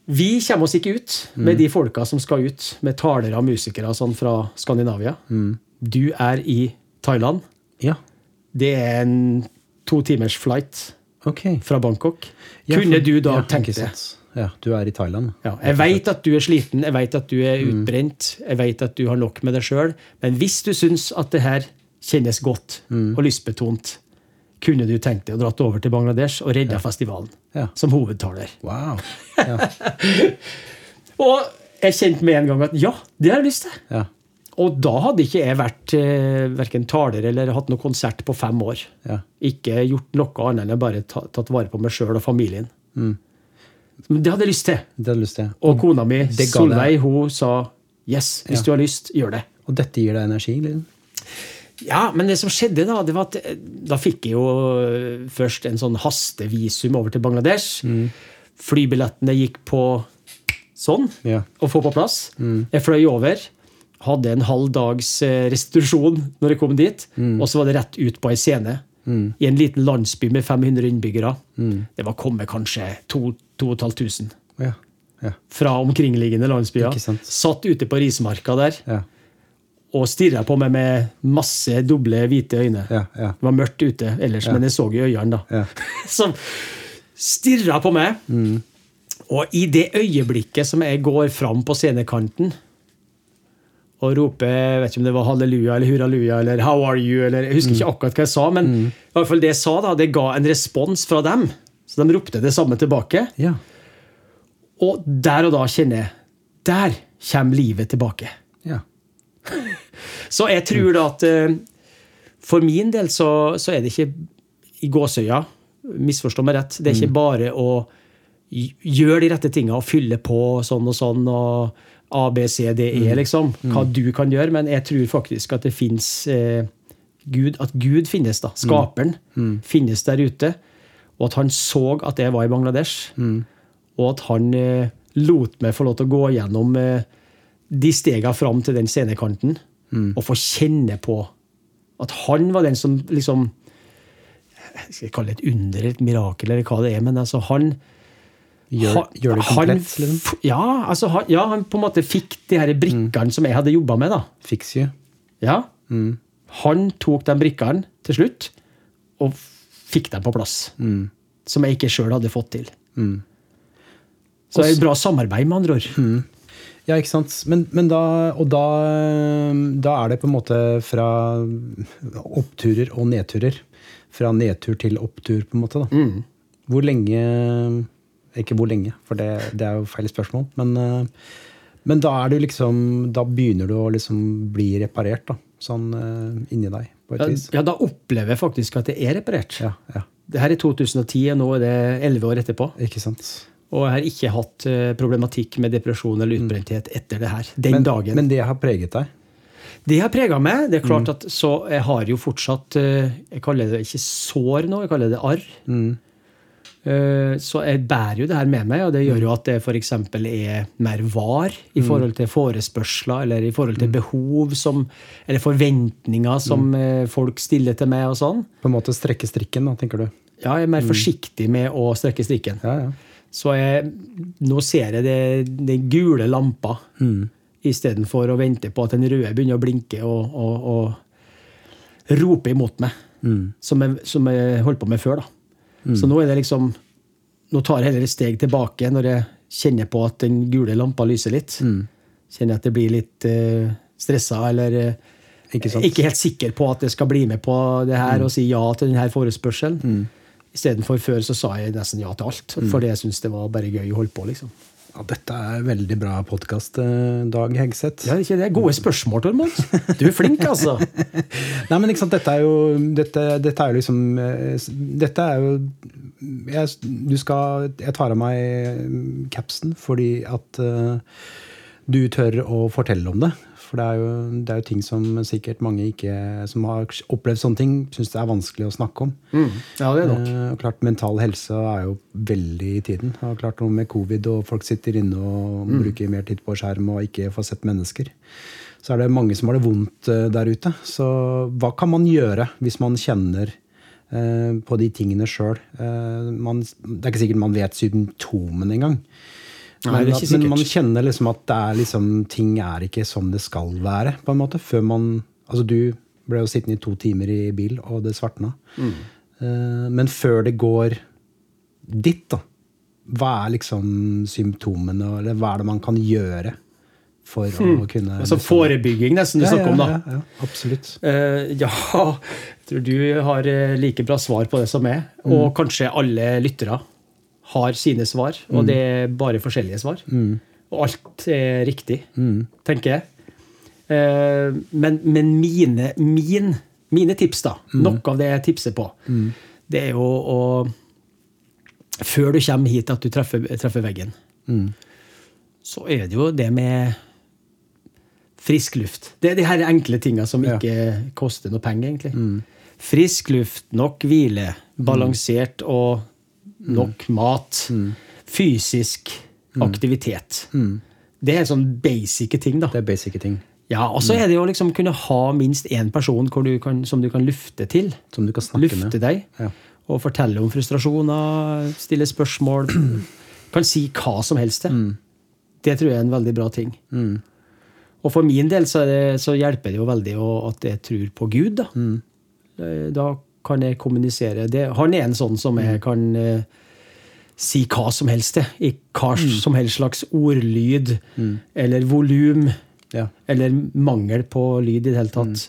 Speaker 2: Vi kommer oss ikke ut med de folka som skal ut, med talere og musikere og sånn fra Skandinavia.
Speaker 1: Mm.
Speaker 2: Du er i Thailand.
Speaker 1: Ja.
Speaker 2: Det er en to timers flight
Speaker 1: Ok.
Speaker 2: fra Bangkok.
Speaker 1: Ja,
Speaker 2: Kunne
Speaker 1: for-
Speaker 2: du da
Speaker 1: ja,
Speaker 2: tenkt
Speaker 1: ikke
Speaker 2: det?
Speaker 1: sant. Ja, du er i Thailand.
Speaker 2: Ja, jeg veit at du er sliten, jeg veit at du er
Speaker 1: Mm.
Speaker 2: utbrent, jeg veit at du har nok med deg sjøl, men hvis du syns at det her kjennes godt
Speaker 1: Mm.
Speaker 2: og lystbetont, kunne du tenkt deg å dratt over til Bangladesh og redda festivalen
Speaker 1: Ja.
Speaker 2: som hovedtaler?
Speaker 1: Wow.
Speaker 2: Og jeg kjente med en gang at ja, det har jeg lyst til.
Speaker 1: Ja.
Speaker 2: Og da hadde ikke jeg vært eh, verken taler eller hatt noen konsert på fem år.
Speaker 1: Ja.
Speaker 2: Ikke gjort noe annet enn bare ta, tatt vare på meg sjøl og familien. Men det hadde jeg lyst til.
Speaker 1: Det hadde jeg lyst til.
Speaker 2: Og kona mi,
Speaker 1: det ga
Speaker 2: Solveig, hun sa yes, hvis
Speaker 1: Ja.
Speaker 2: du har lyst, gjør det.
Speaker 1: Og dette gir deg energi? Liksom.
Speaker 2: Ja, men det som skjedde, da, det var at eh, da fikk jeg jo eh, først en sånn hastevisum over til Bangladesh.
Speaker 1: Mm.
Speaker 2: Flybillettene gikk på sånn,
Speaker 1: Ja.
Speaker 2: å få på plass. Jeg fløy over. Hadde en halv dags eh, restitusjon når jeg kom dit. Og så var det rett ut på ei scene. I en liten landsby med 500 innbyggere. Det var kommet kanskje 2500
Speaker 1: Ja. Ja.
Speaker 2: fra omkringliggende landsbyer.
Speaker 1: Ikke sant.
Speaker 2: Satt ute på rismarka der
Speaker 1: Ja.
Speaker 2: og stirra på meg med masse doble, hvite øyne.
Speaker 1: Ja, ja.
Speaker 2: Det var mørkt ute ellers, men jeg så jo øynene, da.
Speaker 1: Ja. Mm.
Speaker 2: Som stirra på meg. Og i det øyeblikket som jeg går fram på scenekanten og roper jeg vet ikke om det var halleluja eller hurraluja eller how are you, eller jeg
Speaker 1: Mm.
Speaker 2: husker ikke akkurat hva jeg sa, men i hvert fall det jeg sa, da, det ga en respons fra dem. Så de ropte det samme tilbake.
Speaker 1: ja.
Speaker 2: Og der og da kjenner jeg Der kommer livet tilbake.
Speaker 1: ja.
Speaker 2: Så jeg tror da at eh, for min del så, så er det ikke i gåsøya, misforstå meg rett, det er ikke bare å gj- gjøre de rette tinga og fylle på sånn og sånn og A, B, C, D, E, liksom. Hva du kan gjøre. Men jeg tror faktisk at det fins eh, Gud, at Gud finnes, da. Skaperen finnes der ute. Og at han så at jeg var i Bangladesh. Og at han eh, lot meg få lov til å gå gjennom eh, de stega fram til den scenekanten. Og få kjenne på at han var den som liksom jeg Skal jeg kalle det et under eller et mirakel, eller hva det er, men altså han
Speaker 1: Gjør,
Speaker 2: han-
Speaker 1: gjør det komplett,
Speaker 2: han,
Speaker 1: liksom.
Speaker 2: f- ja, altså han, ja, han på en måte fikk de her brikkene som jeg hadde jobba med. da.
Speaker 1: Fix you.
Speaker 2: Ja.
Speaker 1: Mm.
Speaker 2: Han tok de brikkene til slutt, og f- fikk dem på plass.
Speaker 1: Mm.
Speaker 2: Som jeg ikke sjøl hadde fått til. Så det er et bra samarbeid, med andre ord.
Speaker 1: Mm. Ja, ikke sant. Men, men da, og da, øhm, da er det på en måte fra oppturer og nedturer. Fra nedtur til opptur, på en måte. da. Hvor lenge Ikke hvor lenge, for det, det er jo feil spørsmål. Men, øh, men da er du liksom Da begynner du å liksom bli reparert, da. Sånn øh, inni deg, på et
Speaker 2: Ja,
Speaker 1: vis.
Speaker 2: ja, da opplever jeg faktisk at det er reparert.
Speaker 1: Ja, ja.
Speaker 2: Det her er 2010, og nå er det 11 år etterpå.
Speaker 1: Ikke sant.
Speaker 2: Og jeg har ikke hatt eh, problematikk med depresjon eller utbrenthet etter det her.
Speaker 1: Mm.
Speaker 2: Den
Speaker 1: Men,
Speaker 2: dagen.
Speaker 1: men Mm. det har preget deg?
Speaker 2: Det har prega meg. det er klart at Så jeg har jo fortsatt eh, Jeg kaller det ikke sår nå, jeg kaller det arr.
Speaker 1: Mm.
Speaker 2: Eh, Så jeg bærer jo det her med meg, og det gjør
Speaker 1: Mm.
Speaker 2: jo at jeg f.eks. er mer var i forhold til forespørsler eller i forhold
Speaker 1: Mm.
Speaker 2: til behov som, eller forventninger som
Speaker 1: Mm.
Speaker 2: eh, folk stiller til meg. og sånn.
Speaker 1: På en måte strekke strikken, da, tenker du?
Speaker 2: Ja, jeg er
Speaker 1: Mm.
Speaker 2: mer forsiktig med å strekke strikken.
Speaker 1: Ja, ja.
Speaker 2: Så jeg, nå ser jeg det, den gule lampa istedenfor å vente på at den røde begynner å blinke og, og, og rope imot meg,
Speaker 1: Mm.
Speaker 2: som, jeg, som jeg holdt på med før. da. Så nå er det liksom Nå tar jeg heller et steg tilbake når jeg kjenner på at den gule lampa lyser litt.
Speaker 1: Mm.
Speaker 2: Kjenner jeg at jeg blir litt uh, stressa eller eh,
Speaker 1: Ikke sant? Mm.
Speaker 2: ikke helt sikker på at jeg skal bli med på det her og si ja til denne forespørselen. Istedenfor før så sa jeg nesten ja til alt,
Speaker 1: Mm.
Speaker 2: fordi jeg syntes det var bare gøy å holde på. liksom.
Speaker 1: Ja, dette er veldig bra podkast, Dag Hegseth.
Speaker 2: Ja, ikke det? Gode spørsmål, Tormod. Du er flink, altså.
Speaker 1: Nei, men ikke sant, dette er jo Dette, dette er jo liksom eh, s- Dette er jo jeg, Du skal Jeg tar av meg eh, capsen fordi at eh, du tør å fortelle om det. For det er jo, det er jo ting som sikkert mange ikke, som har opplevd sånne ting, syns det er vanskelig å snakke om.
Speaker 2: Ja, det er nok.
Speaker 1: Eh, og klart, Mental helse er jo veldig i tiden. Og klart noe med covid og folk sitter inne og
Speaker 2: Mm.
Speaker 1: bruker mer tid på skjerm og ikke får sett mennesker. Så er det mange som har det vondt eh, der ute. Så hva kan man gjøre hvis man kjenner eh, på de tingene sjøl? Eh, det er ikke sikkert man vet symptomene engang.
Speaker 2: Nei,
Speaker 1: Men,
Speaker 2: det er
Speaker 1: at,
Speaker 2: ikke
Speaker 1: men
Speaker 2: sikkert.
Speaker 1: man kjenner liksom at det er liksom, ting er ikke som det skal være, på en måte. Før man Altså, du ble jo sittende i to timer i bil, og det svartna. Eh, Men før det går dit, da. Hva er liksom symptomene, eller hva er det man kan gjøre for å kunne
Speaker 2: Altså
Speaker 1: liksom-
Speaker 2: forebygging, nesten, du
Speaker 1: Ja,
Speaker 2: snakker om, da.
Speaker 1: ja, ja, ja, absolutt.
Speaker 2: Eh, ja, jeg tror du har eh, like bra svar på det som meg. Og kanskje alle lyttere har sine svar, og det er bare forskjellige svar. Og alt er riktig, tenker jeg. Eh, men men mine, min, mine tips, da, noe av det jeg tipser på, det er jo å Før du kommer hit at du treffer, treffer veggen,
Speaker 1: Mm.
Speaker 2: så er det jo det med Frisk luft. Det er de her enkle tinga som
Speaker 1: Ja. Mm.
Speaker 2: ikke koster noe penger, egentlig. Frisk luft, nok hvile, balansert og
Speaker 1: Mm.
Speaker 2: nok mat. Fysisk aktivitet. Det er sånn basic ting, da.
Speaker 1: Mm. Det Mm. er basic ting
Speaker 2: Ja, Og så er det jo liksom kunne ha minst én person hvor du kan, som du kan lufte til.
Speaker 1: som du kan snakke
Speaker 2: Lufte
Speaker 1: med.
Speaker 2: deg.
Speaker 1: Ja.
Speaker 2: Og fortelle om frustrasjoner, stille spørsmål. Kan si hva som helst til. Det tror jeg er en veldig bra ting. Og for min del så, er det, så hjelper det jo veldig å- at jeg tror på Gud, da. Eh, Da kan jeg kommunisere. Det, han er en sånn som jeg kan eh, si hva som helst til. I hva som helst slags ordlyd eller volum.
Speaker 1: Ja.
Speaker 2: Eller mangel på lyd i det hele tatt.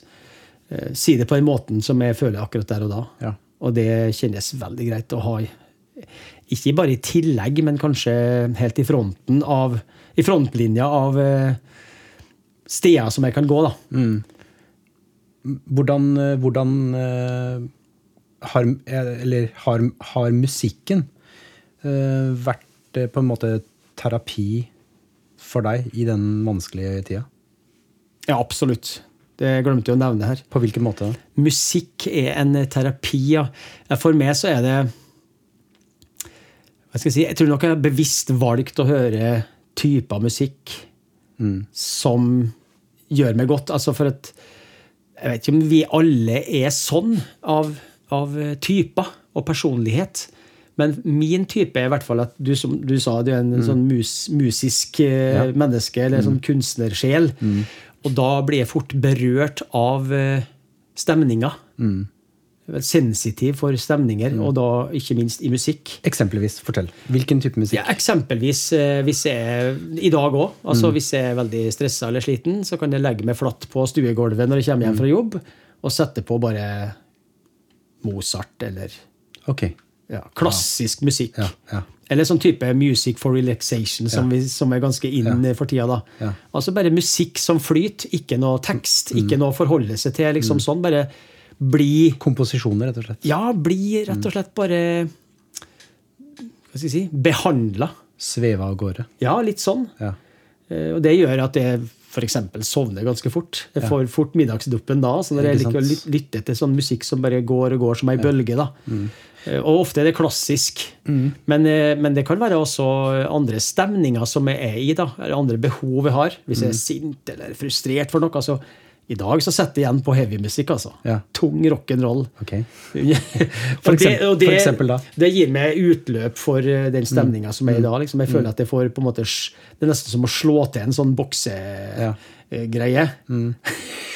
Speaker 2: Eh, Si det på den måten som jeg føler akkurat der og da.
Speaker 1: Ja.
Speaker 2: Og det kjennes veldig greit å ha. i- Ikke bare i tillegg, men kanskje helt i fronten av I frontlinja av eh, steder som jeg kan gå, da.
Speaker 1: Hvordan, eh, hvordan eh, har, eh, eller har, har musikken eh, vært eh, på en måte terapi for deg i den vanskelige tida?
Speaker 2: Ja, absolutt. Det glemte jeg å nevne her.
Speaker 1: På hvilken måte?
Speaker 2: musikk er en terapi. Ja. For meg så er det hva skal Jeg si, jeg tror nok jeg har bevisst valgt å høre typer musikk som gjør meg godt. Altså for at Jeg vet ikke om vi alle er sånn av, av typer og personlighet. Men min type er i hvert fall at du som du sa, du er en sånn mus, musisk eh, menneske, eller en sånn kunstnersjel. Og da blir jeg fort berørt av eh, stemninga. Jeg er Sensitiv for stemninger, og da ikke minst i musikk.
Speaker 1: Eksempelvis, fortell. Hvilken type musikk?
Speaker 2: Ja, eksempelvis eh, hvis jeg er I dag òg. Altså,
Speaker 1: Mm.
Speaker 2: Hvis jeg er veldig stressa eller sliten, så kan jeg legge meg flatt på stuegulvet når jeg kommer hjem fra
Speaker 1: Mm.
Speaker 2: jobb, og sette på bare Mozart eller
Speaker 1: Ok.
Speaker 2: ja, klassisk musikk.
Speaker 1: Ja, ja.
Speaker 2: Eller sånn type music for relaxation, som, vi, som er ganske in for tida. da.
Speaker 1: Ja. Mm.
Speaker 2: Altså bare musikk som flyter, ikke noe tekst, ikke noe å forholde seg til. liksom sånn, Bare bli
Speaker 1: Komposisjoner, rett og slett.
Speaker 2: Ja, bli rett
Speaker 1: Mm.
Speaker 2: og slett bare Hva skal jeg si behandla.
Speaker 1: Sveve av gårde.
Speaker 2: Ja, litt sånn.
Speaker 1: Ja.
Speaker 2: Eh, Og det gjør at jeg f.eks. sovner ganske fort. Jeg får fort middagsduppen da. Så når jeg
Speaker 1: Ikke
Speaker 2: liker å lyt-
Speaker 1: sant?
Speaker 2: lytte til sånn musikk som bare går og går som ei bølge, da.
Speaker 1: Mm.
Speaker 2: Eh, Og ofte er det klassisk. Men, eh, men det kan være også andre stemninger som jeg er i, da. Eller andre behov jeg har. Hvis jeg
Speaker 1: Mm.
Speaker 2: er sint eller frustrert for noe. så i dag så setter jeg igjen på heavymusikk. altså.
Speaker 1: Ja.
Speaker 2: Tung rock'n'roll.
Speaker 1: Ok.
Speaker 2: for,
Speaker 1: eksempel- for eksempel da? Mm.
Speaker 2: Det gir meg utløp for eh, den stemninga som er i dag. Liksom. Jeg føler at jeg får på en måte sj- Det er nesten som å slå til en sånn
Speaker 1: Ja. Mm.
Speaker 2: boksegreie.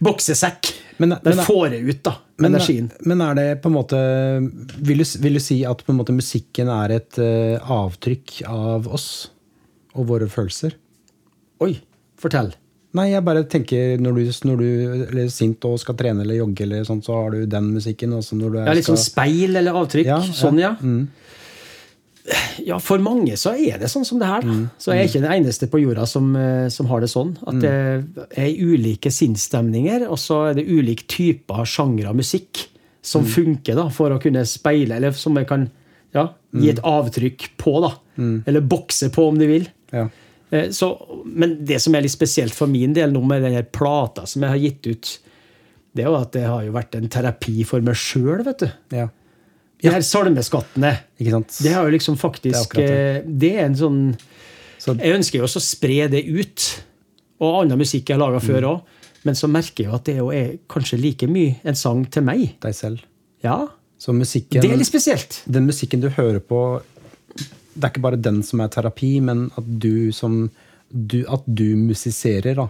Speaker 2: Boksesekk.
Speaker 1: Men-
Speaker 2: Der
Speaker 1: men-
Speaker 2: får jeg ut da,
Speaker 1: Men,
Speaker 2: energien.
Speaker 1: men er det på en måte Vil du, vil du si at på en måte musikken er et eh, avtrykk av oss og våre følelser?
Speaker 2: Oi, fortell.
Speaker 1: Nei, jeg bare tenker når du, når du eller er sint og skal trene eller jogge, eller sånt, så har du den musikken. Og så når du er,
Speaker 2: Ja, litt
Speaker 1: skal-
Speaker 2: sånn speil eller avtrykk.
Speaker 1: Ja, Mm. ja.
Speaker 2: Sånn, ja. Ja, for mange så er det sånn som det her.
Speaker 1: Mm.
Speaker 2: Da. Så jeg er ikke den eneste på jorda som, eh, som har det sånn. At det er ulike sinnsstemninger, og så er det ulike typer sjanger av musikk
Speaker 1: Mm.
Speaker 2: som funker da, for å kunne speile, eller som jeg kan ja,
Speaker 1: Mm.
Speaker 2: gi et avtrykk på. da. Eller bokse på, om du vil.
Speaker 1: ja.
Speaker 2: Eh, Så, men det som er litt spesielt for min del nå med den her plata som jeg har gitt ut, det er jo at det har jo vært en terapi for meg sjøl, vet du.
Speaker 1: ja.
Speaker 2: De her salmeskattene.
Speaker 1: Ikke sant?
Speaker 2: Det har jo liksom
Speaker 1: Det
Speaker 2: faktisk
Speaker 1: er
Speaker 2: Det er,
Speaker 1: akkurat
Speaker 2: det er en sånn
Speaker 1: Så-
Speaker 2: Jeg ønsker jo også å spre det ut. Og annen musikk jeg har laga før òg. Men så merker jeg jo at det jo er kanskje like mye en sang til meg.
Speaker 1: Deg selv.
Speaker 2: Ja,
Speaker 1: Så musikken
Speaker 2: Det er litt spesielt.
Speaker 1: den musikken du hører på Det er ikke bare den som er terapi, men at du som du, At du musiserer da,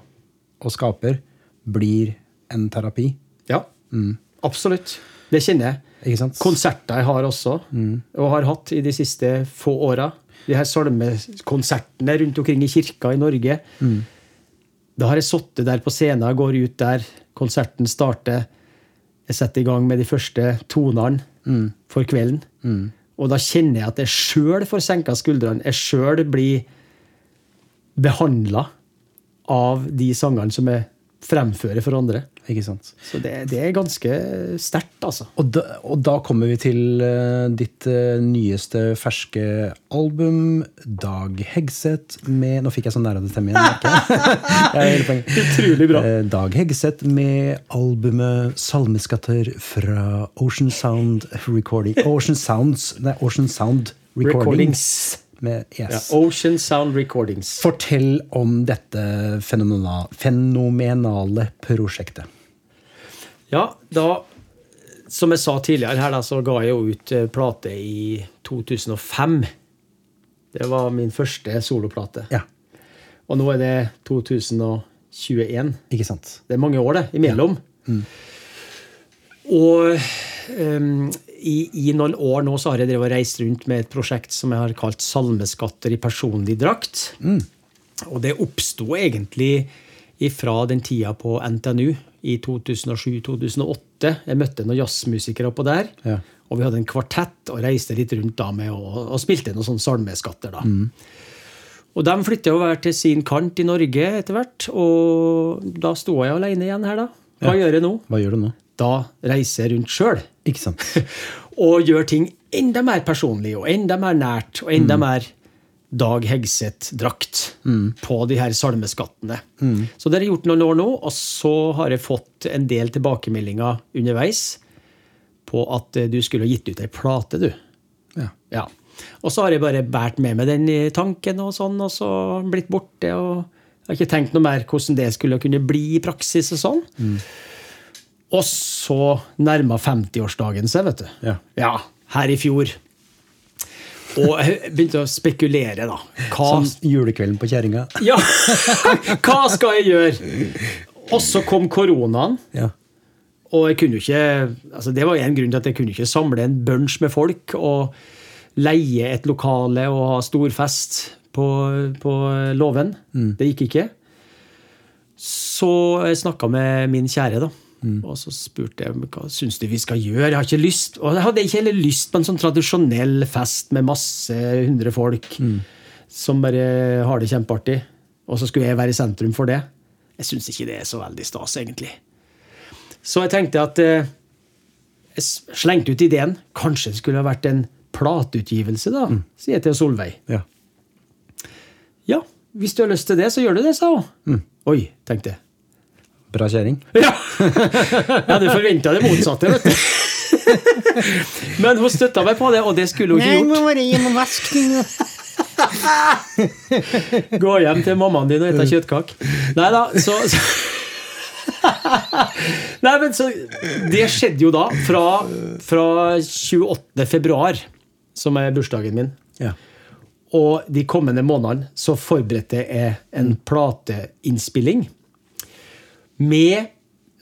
Speaker 1: og skaper, blir en terapi.
Speaker 2: Ja. Absolutt. Det kjenner jeg.
Speaker 1: Ikke sant?
Speaker 2: Konserter jeg har også, og har hatt i de siste få åra. De her salmekonsertene rundt omkring i kirka i Norge. Da har jeg sittet der på scenen, går ut der, konserten starter. Jeg setter i gang med de første tonene for kvelden. Og da kjenner jeg at jeg sjøl får senka skuldrene. Jeg sjøl blir behandla av de sangene som jeg fremfører for andre.
Speaker 1: Ikke sant?
Speaker 2: Så det, det er ganske sterkt, altså.
Speaker 1: Og da, og da kommer vi til eh, ditt eh, nyeste ferske album, Dag Hegseth med Nå fikk jeg så nær av det stemmen igjen. merker jeg. Jeg er helt poeng.
Speaker 2: Utrolig bra.
Speaker 1: Eh, Dag Hegseth med albumet 'Salmeskatter' fra Ocean Sound Recording Ocean Sounds, nei, Ocean Sound Recordings.
Speaker 2: Recordings.
Speaker 1: Med,
Speaker 2: Ja,
Speaker 1: yes.
Speaker 2: Ocean Sound Recordings.
Speaker 1: Fortell om dette fenomena, fenomenale prosjektet.
Speaker 2: Ja, da Som jeg sa tidligere her, da, så ga jeg jo ut eh, plate i 2005. Det var min første soloplate.
Speaker 1: Ja,
Speaker 2: Og nå er det 2021.
Speaker 1: ikke sant?
Speaker 2: Det er mange år, det, imellom. Og ehm, i, i noen år nå så har jeg drevet og reist rundt med et prosjekt som jeg har kalt Salmeskatter i personlig drakt. Og det oppsto egentlig ifra den tida på NTNU i 2007-2008. Jeg møtte noen jazzmusikere oppå der.
Speaker 1: Ja.
Speaker 2: Og vi hadde en kvartett og reiste litt rundt da med å- og spilte noen sånne salmeskatter. da. Og de flytta jo hver til sin kant i Norge etter hvert. Og da sto jeg alene igjen her, da. Hva gjør jeg nå?
Speaker 1: Hva gjør du nå?
Speaker 2: Da reiser jeg rundt sjøl.
Speaker 1: Ikke sant?
Speaker 2: Og gjør ting enda mer personlig og enda mer nært og enda mer Dag Hegseth-drakt på de her salmeskattene. Så det har jeg gjort noen år nå, og så har jeg fått en del tilbakemeldinger underveis på at eh, du skulle ha gitt ut ei plate, du.
Speaker 1: Ja.
Speaker 2: Ja. Og så har jeg bare båret med meg den i tanken, og sånn, og så blitt borte. og Jeg har ikke tenkt noe mer hvordan det skulle kunne bli i praksis. Og sånn.
Speaker 1: Mm.
Speaker 2: Og så nærma 50-årsdagen seg, vet du.
Speaker 1: Ja.
Speaker 2: ja. Her i fjor. Og jeg begynte å spekulere, da. Hva
Speaker 1: Som julekvelden på kjerringa.
Speaker 2: Ja! Hva skal jeg gjøre? Og så kom koronaen.
Speaker 1: Ja.
Speaker 2: Og jeg kunne jo ikke, altså det var en grunn til at jeg kunne ikke samle en bunch med folk og leie et lokale og ha storfest på, på låven. Det gikk ikke. Så jeg snakka med min kjære, da. Og så spurte jeg hva syns du vi skal gjøre. Jeg har ikke lyst, og jeg hadde ikke heller lyst på en sånn tradisjonell fest med masse hundre folk som bare har det kjempeartig. Og så skulle jeg være i sentrum for det. Jeg syns ikke det er så veldig stas, egentlig. Så jeg tenkte at eh, jeg s- slengte ut ideen. Kanskje det skulle ha vært en plateutgivelse, da, sier jeg til Solveig.
Speaker 1: Ja.
Speaker 2: Ja, hvis du har lyst til det, så gjør du det, sa hun. Oi, tenkte jeg.
Speaker 1: Bra kjerring.
Speaker 2: Ja! Jeg hadde forventa det motsatte, vet du. Men hun støtta meg på det, og det skulle hun ikke gjort.
Speaker 1: Marie, jeg må vaske den.
Speaker 2: Gå hjem til mammaen din og spise kjøttkake. Nei da, så, så Nei, men så Det skjedde jo da, fra, fra 28. februar, som er bursdagen min,
Speaker 1: Ja.
Speaker 2: og de kommende månedene, så forberedte jeg en plateinnspilling med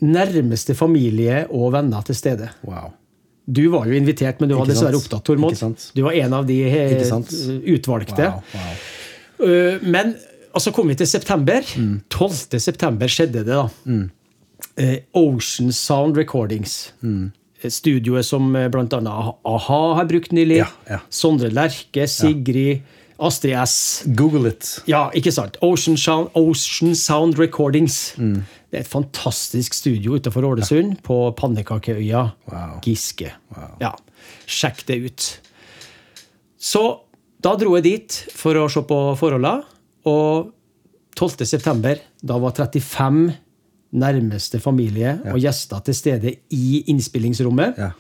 Speaker 2: nærmeste familie og venner til stede.
Speaker 1: Wow.
Speaker 2: Du var jo invitert, men du var
Speaker 1: Ikke sant?
Speaker 2: dessverre opptatt, Tormod.
Speaker 1: Ikke sant?
Speaker 2: Du var en av de eh,
Speaker 1: Ikke sant?
Speaker 2: utvalgte.
Speaker 1: Wow, wow. Mm.
Speaker 2: Uh, Men og så kom vi til september. 12. september skjedde det, da. Eh, Ocean Sound Recordings.
Speaker 1: Mm.
Speaker 2: Eh, Studioet som eh, blant annet a-ha har brukt nylig.
Speaker 1: Ja, ja.
Speaker 2: Sondre Lerche, Sigrid, Astrid S.
Speaker 1: Google it.
Speaker 2: Ja, ikke sant. Ocean Sound, Ocean Sound Recordings. Det er et fantastisk studio utenfor Ålesund, på Pannekakeøya
Speaker 1: Wow.
Speaker 2: Giske. Ja, Sjekk det ut. Så da dro jeg dit for å se på forholdene, og 12. september, da var 35 nærmeste familie og gjester til stede i innspillingsrommet.
Speaker 1: Ja.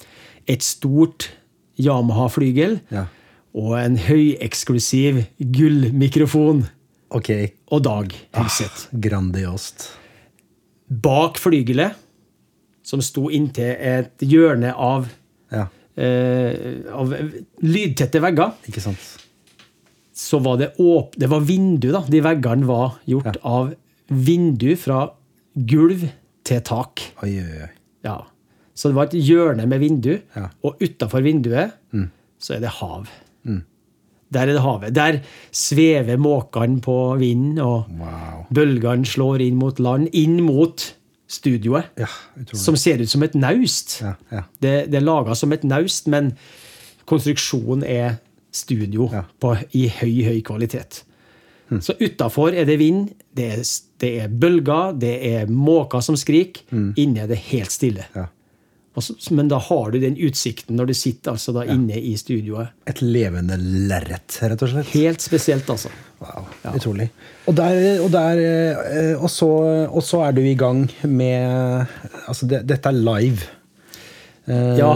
Speaker 2: Et stort Yamaha-flygel
Speaker 1: Ja.
Speaker 2: og en høyeksklusiv gullmikrofon
Speaker 1: Ok.
Speaker 2: og Dag
Speaker 1: Ah.
Speaker 2: Hegseth.
Speaker 1: Grandiost.
Speaker 2: Bak flygelet, som sto inntil et hjørne av,
Speaker 1: Ja.
Speaker 2: eh, av lydtette vegger,
Speaker 1: Ikke sant.
Speaker 2: så var det åp Det var vindu, da. De veggene var gjort av vindu fra gulv til tak.
Speaker 1: Oi, oi, oi.
Speaker 2: Ja. Så det var et hjørne med vindu,
Speaker 1: Ja.
Speaker 2: og utafor vinduet så er det hav. Der er det havet. Der svever måkene på vinden, og
Speaker 1: Wow.
Speaker 2: bølgene slår inn mot land, inn mot studioet,
Speaker 1: Ja, utrolig.
Speaker 2: som ser ut som et naust.
Speaker 1: Ja, ja.
Speaker 2: Det, det er laga som et naust, men konstruksjonen er studio
Speaker 1: Ja. Hm.
Speaker 2: på, i høy, høy kvalitet. Så utafor er det vind, det er, s- det er bølger, det er måker som skriker. Inne er det helt stille.
Speaker 1: Hm. Ja.
Speaker 2: Og så- så- men da har du den utsikten når du sitter altså da inne i studioet.
Speaker 1: Et levende lerret, rett og slett.
Speaker 2: Helt spesielt, altså.
Speaker 1: Wow, Utrolig. Og, der, og, der, eh, og, så, og så er du i gang med Altså, det, dette er live. Eh,
Speaker 2: Ja,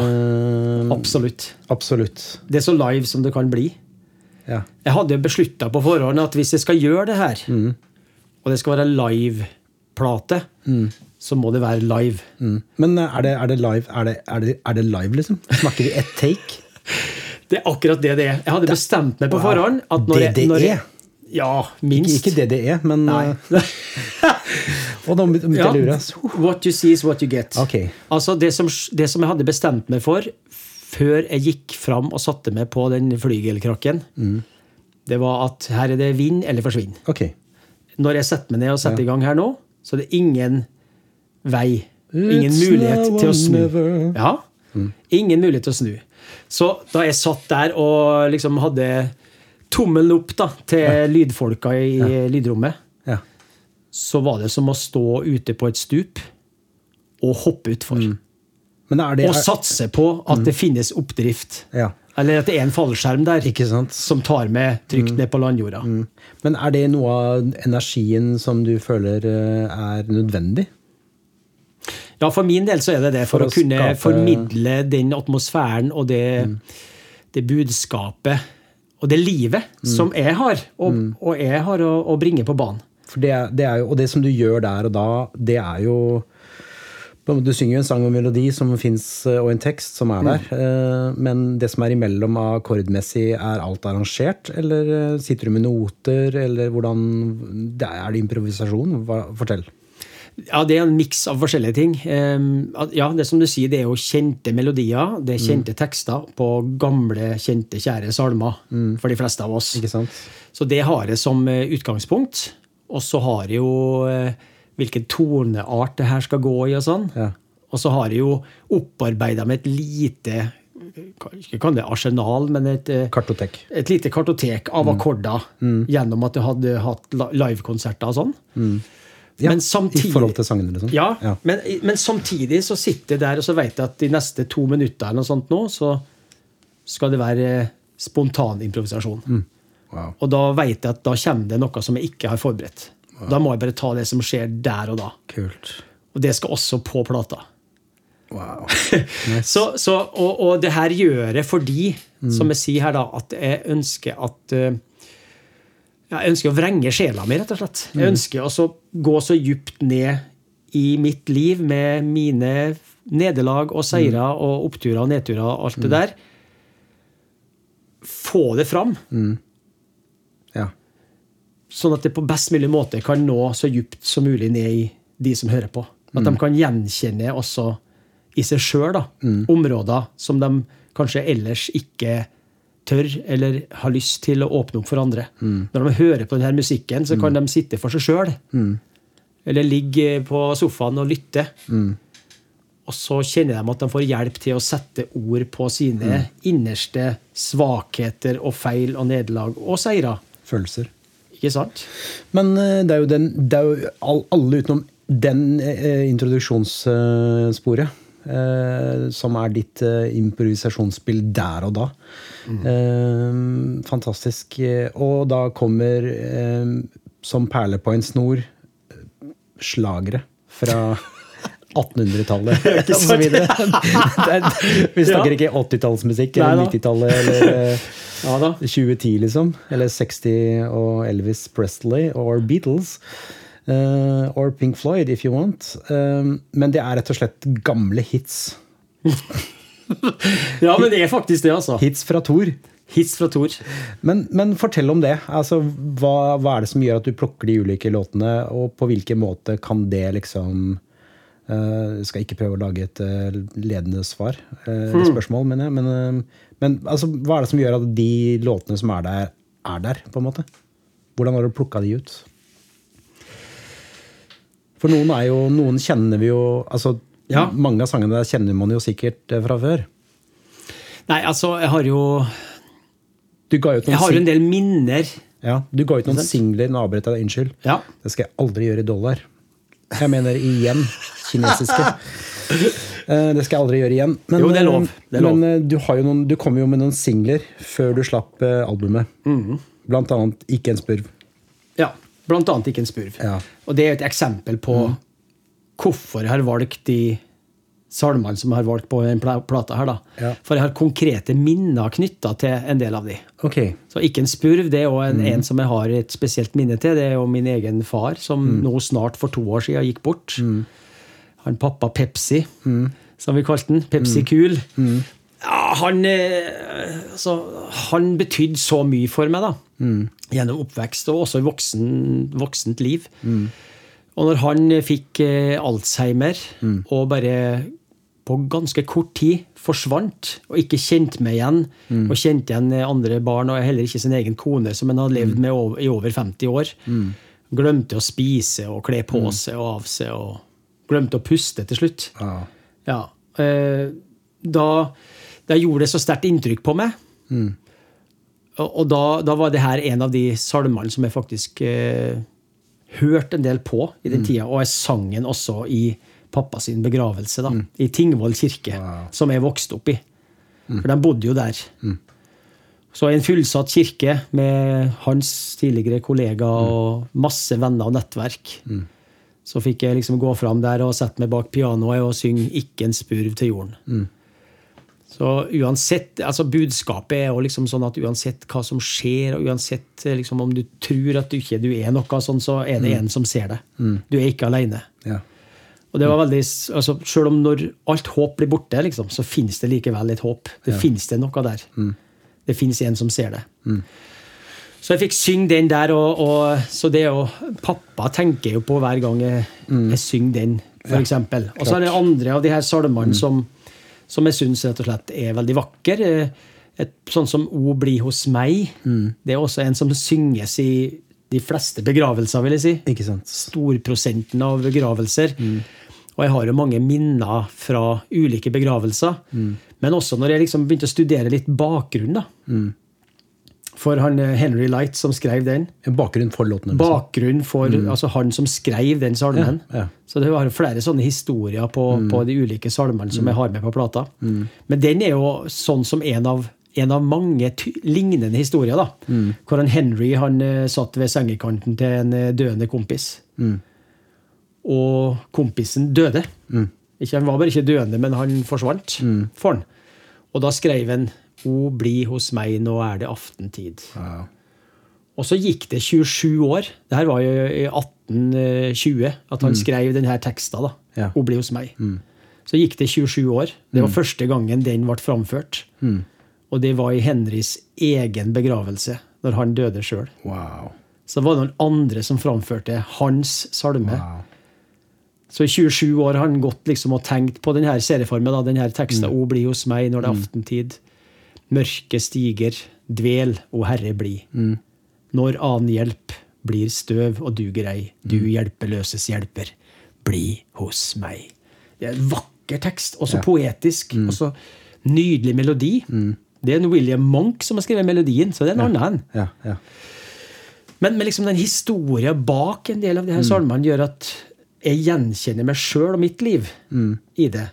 Speaker 2: Absolutt.
Speaker 1: Absolutt.
Speaker 2: Det er så live som det kan bli.
Speaker 1: Ja.
Speaker 2: Jeg hadde beslutta på forhånd at hvis jeg skal gjøre det her,
Speaker 1: Mm.
Speaker 2: og det skal være live-plate, så må det være live.
Speaker 1: Mm. Men eh, er det, er det live, er det, er det, er det live liksom? Snakker vi ett take?
Speaker 2: Det er akkurat det det er. Jeg hadde bestemt meg på
Speaker 1: Wow.
Speaker 2: forhånd at når jeg,
Speaker 1: DDE?
Speaker 2: når jeg Ja, minst.
Speaker 1: Ikke DDE, men
Speaker 2: Nei.
Speaker 1: eh, Og da begynte jeg
Speaker 2: Ja.
Speaker 1: å lure. ass.
Speaker 2: What you see is what you get.
Speaker 1: Ok.
Speaker 2: Altså det som, det som jeg hadde bestemt meg for før jeg gikk fram og satte meg på den flygelkrakken,
Speaker 1: Mm.
Speaker 2: det var at her er det vinn eller forsvinn.
Speaker 1: Ok.
Speaker 2: Når jeg setter meg ned og setter i gang her nå, så er det ingen vei. Ingen
Speaker 1: It's
Speaker 2: mulighet
Speaker 1: now
Speaker 2: til å
Speaker 1: or
Speaker 2: snu.
Speaker 1: never.
Speaker 2: Ja. Ingen mulighet til å snu. Så da jeg satt der og liksom hadde tommelen opp da, til lydfolka i lydrommet,
Speaker 1: Ja.
Speaker 2: så var det som å stå ute på et stup og hoppe utfor.
Speaker 1: Mm. Men er det
Speaker 2: Og satse på at
Speaker 1: Mm.
Speaker 2: det finnes oppdrift.
Speaker 1: Ja.
Speaker 2: Eller at det er en fallskjerm der
Speaker 1: Ikke Mm. sant?
Speaker 2: som tar meg trygt ned på landjorda.
Speaker 1: Men er det noe av energien som du føler eh, er nødvendig?
Speaker 2: Ja, for min del så er det det. For,
Speaker 1: For å
Speaker 2: å, kunne
Speaker 1: skape- Mm.
Speaker 2: formidle den atmosfæren og det, det budskapet og det livet
Speaker 1: Mm.
Speaker 2: som jeg har, og, og jeg har å, å bringe på banen.
Speaker 1: For det, er- det er jo, og det som du gjør der og da, det er jo på en måte, Du synger jo en sang og en melodi som fins, og en tekst som er der.
Speaker 2: Mm.
Speaker 1: eh, Men det som er imellom akkordmessig, er alt arrangert? Eller eh, sitter du med noter? Eller hvordan det Er er det improvisasjon? Hva, fortell.
Speaker 2: Ja, det er en miks av forskjellige ting. Ehm, at- ja, det som du sier, det er jo kjente melodier, det er
Speaker 1: Mm.
Speaker 2: kjente tekster på gamle, kjente, kjære salmer
Speaker 1: Mm.
Speaker 2: for de fleste av oss.
Speaker 1: Ikke sant?
Speaker 2: Så det har jeg som eh, utgangspunkt. Og så har jeg jo eh, hvilken toneart det her skal gå i og sånn.
Speaker 1: Ja.
Speaker 2: Og så har jeg jo opparbeida med et lite Ikke kan det arsenal, men et eh,
Speaker 1: Kartotek.
Speaker 2: et lite
Speaker 1: Mm.
Speaker 2: kartotek av akkorder gjennom at jeg hadde hatt la- livekonserter og sånn.
Speaker 1: Mm. Ja,
Speaker 2: men samtidig,
Speaker 1: I forhold til sangene, liksom?
Speaker 2: ja,
Speaker 1: ja.
Speaker 2: Men, men samtidig så sitter jeg der og så vet jeg at de neste to minutter eller noe sånt nå, så skal det være spontan improvisasjon.
Speaker 1: Mm. Wow.
Speaker 2: Og da vet jeg at da kommer det noe som jeg ikke har forberedt. Da må jeg bare ta det som skjer der og da.
Speaker 1: Kult.
Speaker 2: Og det skal også på plata.
Speaker 1: Wow.
Speaker 2: Så, så, og, og det her gjør jeg fordi, som jeg sier her, da, at jeg ønsker at eh, ja, Jeg ønsker å vrenge sjela mi, rett og slett. Jeg ønsker også å gå så djupt ned i mitt liv med mine nederlag og seire og oppturer og nedturer og alt det der. Få det fram,
Speaker 1: Ja.
Speaker 2: sånn at det på best mulig måte kan nå så djupt som mulig ned i de som hører på. At de kan gjenkjenne også i seg sjøl områder som de kanskje ellers ikke tør eller har lyst til å åpne opp for andre. Når de hører på denne musikken, så kan de sitte for seg sjøl. Eller ligge på sofaen og lytte. Og så kjenner de at de får hjelp til å sette ord på sine innerste svakheter og feil og nederlag og seirer.
Speaker 1: Følelser.
Speaker 2: Ikke sant?
Speaker 1: Men eh, det er jo, den, det er jo all, alle utenom den eh, introduksjonssporet. eh, som er ditt eh, improvisasjonsspill der og da.
Speaker 2: Mm.
Speaker 1: Eh, fantastisk. Eh, Og da kommer eh, som perle på en snor eh, slagere fra 1800-tallet og så videre. Det er- Vi snakker
Speaker 2: Ja.
Speaker 1: ikke 80-tallsmusikk
Speaker 2: Nei
Speaker 1: eller
Speaker 2: da.
Speaker 1: 90-tallet eller eh,
Speaker 2: Ja da.
Speaker 1: 2010, liksom. Eller 60 og Elvis Presley or Beatles. eh, or Pink Floyd, if you want. Eh, men det er rett og slett gamle hits.
Speaker 2: Ja, men det er faktisk det, altså.
Speaker 1: Hits fra Thor.
Speaker 2: Hits fra Thor.
Speaker 1: Men, men fortell om det. Altså, hva, hva er det som gjør at du plukker de ulike låtene, og på hvilken måte kan det liksom eh, skal ikke prøve å lage et eh, ledende svar. eh, eller
Speaker 2: Mm.
Speaker 1: Spørsmål, mener jeg. Men, eh, men altså, hva er det som gjør at de låtene som er der, er der? på en måte? Hvordan har du plukka de ut? For noen er jo, noen kjenner vi jo altså,
Speaker 2: Ja.
Speaker 1: Mange av sangene der kjenner man jo sikkert eh, fra før.
Speaker 2: Nei, altså, jeg har jo
Speaker 1: Du ga ut
Speaker 2: Jeg
Speaker 1: noen,
Speaker 2: har jo
Speaker 1: sing
Speaker 2: en del minner.
Speaker 1: ja, du ga ut noen singler Nå avbrøt jeg deg, unnskyld.
Speaker 2: Ja.
Speaker 1: Det skal jeg aldri gjøre i dollar. Jeg mener igjen kinesiske. Eh, Det skal jeg aldri gjøre igjen. Men,
Speaker 2: Jo, det er lov. Det er lov.
Speaker 1: men eh, du, har jo noen, du kom jo med noen singler før du slapp eh, albumet.
Speaker 2: Mhm.
Speaker 1: Blant annet Ikke en spurv.
Speaker 2: ja. Blant annet Ikke en spurv.
Speaker 1: Ja.
Speaker 2: Og det er jo et eksempel på hvorfor jeg har valgt de salmene som jeg har valgt på den pla- plata her. da.
Speaker 1: Ja.
Speaker 2: For jeg har konkrete minner knytta til en del av de.
Speaker 1: Ok.
Speaker 2: Så Ikke en spurv det er jo en, en som jeg har et spesielt minne til. Det er jo min egen far, som nå snart for to år siden gikk bort. Han pappa Pepsi, som vi kalte han. Pepsi Cool. Ja, han, eh, altså, han betydde så mye for meg, da. Gjennom oppvekst, og også i voksen, voksent liv. Og når han fikk eh, Alzheimer, og bare på ganske kort tid forsvant, og ikke kjente meg igjen, og kjente igjen eh, andre barn, og heller ikke sin egen kone, som han hadde levd med over, i over 50 år, glemte å spise og kle på seg og av seg, og glemte å puste til slutt.
Speaker 1: Ja.
Speaker 2: Ja. eh, Da, da gjorde det så sterkt inntrykk på meg. Og, og da, da var det her en av de salmene som jeg faktisk eh, hørte en del på i den tida. Og jeg sang den også i pappa sin begravelse, da, i Tingvoll kirke, som jeg vokste opp i. For de bodde jo der. Så i en fullsatt kirke med hans tidligere kollega og masse venner og nettverk. Så fikk jeg liksom gå fram der og sette meg bak pianoet og synge 'Ikke en spurv til jorden'. Så uansett, altså Budskapet er jo liksom sånn at uansett hva som skjer, og uansett eh, liksom om du tror at du ikke du er noe, sånn, så er det en som ser deg. Du er ikke aleine.
Speaker 1: ja.
Speaker 2: Og det var veldig, altså Selv om når alt håp blir borte, liksom, så finnes det likevel et håp. Det finnes det noe der. Det finnes en som ser det. Så jeg fikk synge den der. Og, og, så det er jo, Pappa tenker jo på hver gang jeg, jeg synger den, for eksempel. Og så er det andre av de her salmene som, som jeg syns rett og slett er veldig vakre. Et, sånn som O bli hos meg. Det er også en som synges i de fleste begravelser, vil jeg si
Speaker 1: Ikke sant.
Speaker 2: storprosenten av begravelser. Og jeg har jo mange minner fra ulike begravelser. Men også når jeg liksom begynte å studere litt bakgrunn. da. For han eh, Henry Light som skrev den.
Speaker 1: En bakgrunn for låten. liksom.
Speaker 2: Bakgrunn for altså han som skrev den salmen.
Speaker 1: Ja, Mm. ja.
Speaker 2: Så det var flere sånne historier på, på de ulike salmene
Speaker 1: Mm.
Speaker 2: som jeg har med på plata. Men den er jo sånn som en av, en av mange ty lignende historier. da.
Speaker 1: Mm.
Speaker 2: Hvor han Henry han eh, satt ved sengekanten til en eh, døende kompis.
Speaker 1: Mm.
Speaker 2: Og kompisen døde.
Speaker 1: Mm.
Speaker 2: Ikke, han var bare ikke døende, men han forsvant for han. Og da skrev han O bli hos meg, nå er det aftentid.
Speaker 1: Ja.
Speaker 2: Og så gikk det 27 år. Det her var jo i 1820 at han skrev denne teksta. da,
Speaker 1: Ja.
Speaker 2: «O bli hos meg. Så gikk det 27 år. Det var første gangen den ble framført. Og det var i Henrys egen begravelse, når han døde sjøl.
Speaker 1: Wow.
Speaker 2: Så var det noen andre som framførte hans salme.
Speaker 1: wow.
Speaker 2: Så i 27 år har han gått liksom og tenkt på denne serieformen. Da, denne teksten,
Speaker 1: Mm.
Speaker 2: O bli hos meg når det er aftentid. Mørke stiger, dvel, O Herre bli.
Speaker 1: Mm.
Speaker 2: Når annen hjelp blir støv og duger ei, du
Speaker 1: Mm.
Speaker 2: hjelpeløses hjelper, bli hos meg. Det er en vakker tekst, og så poetisk,
Speaker 1: Mm.
Speaker 2: og så nydelig melodi. Det er en William Monk som har skrevet melodien, så det er en annen en.
Speaker 1: Ja, ja.
Speaker 2: Men, men liksom den historien bak en del av de her salmene gjør at jeg gjenkjenner meg sjøl og mitt liv i det.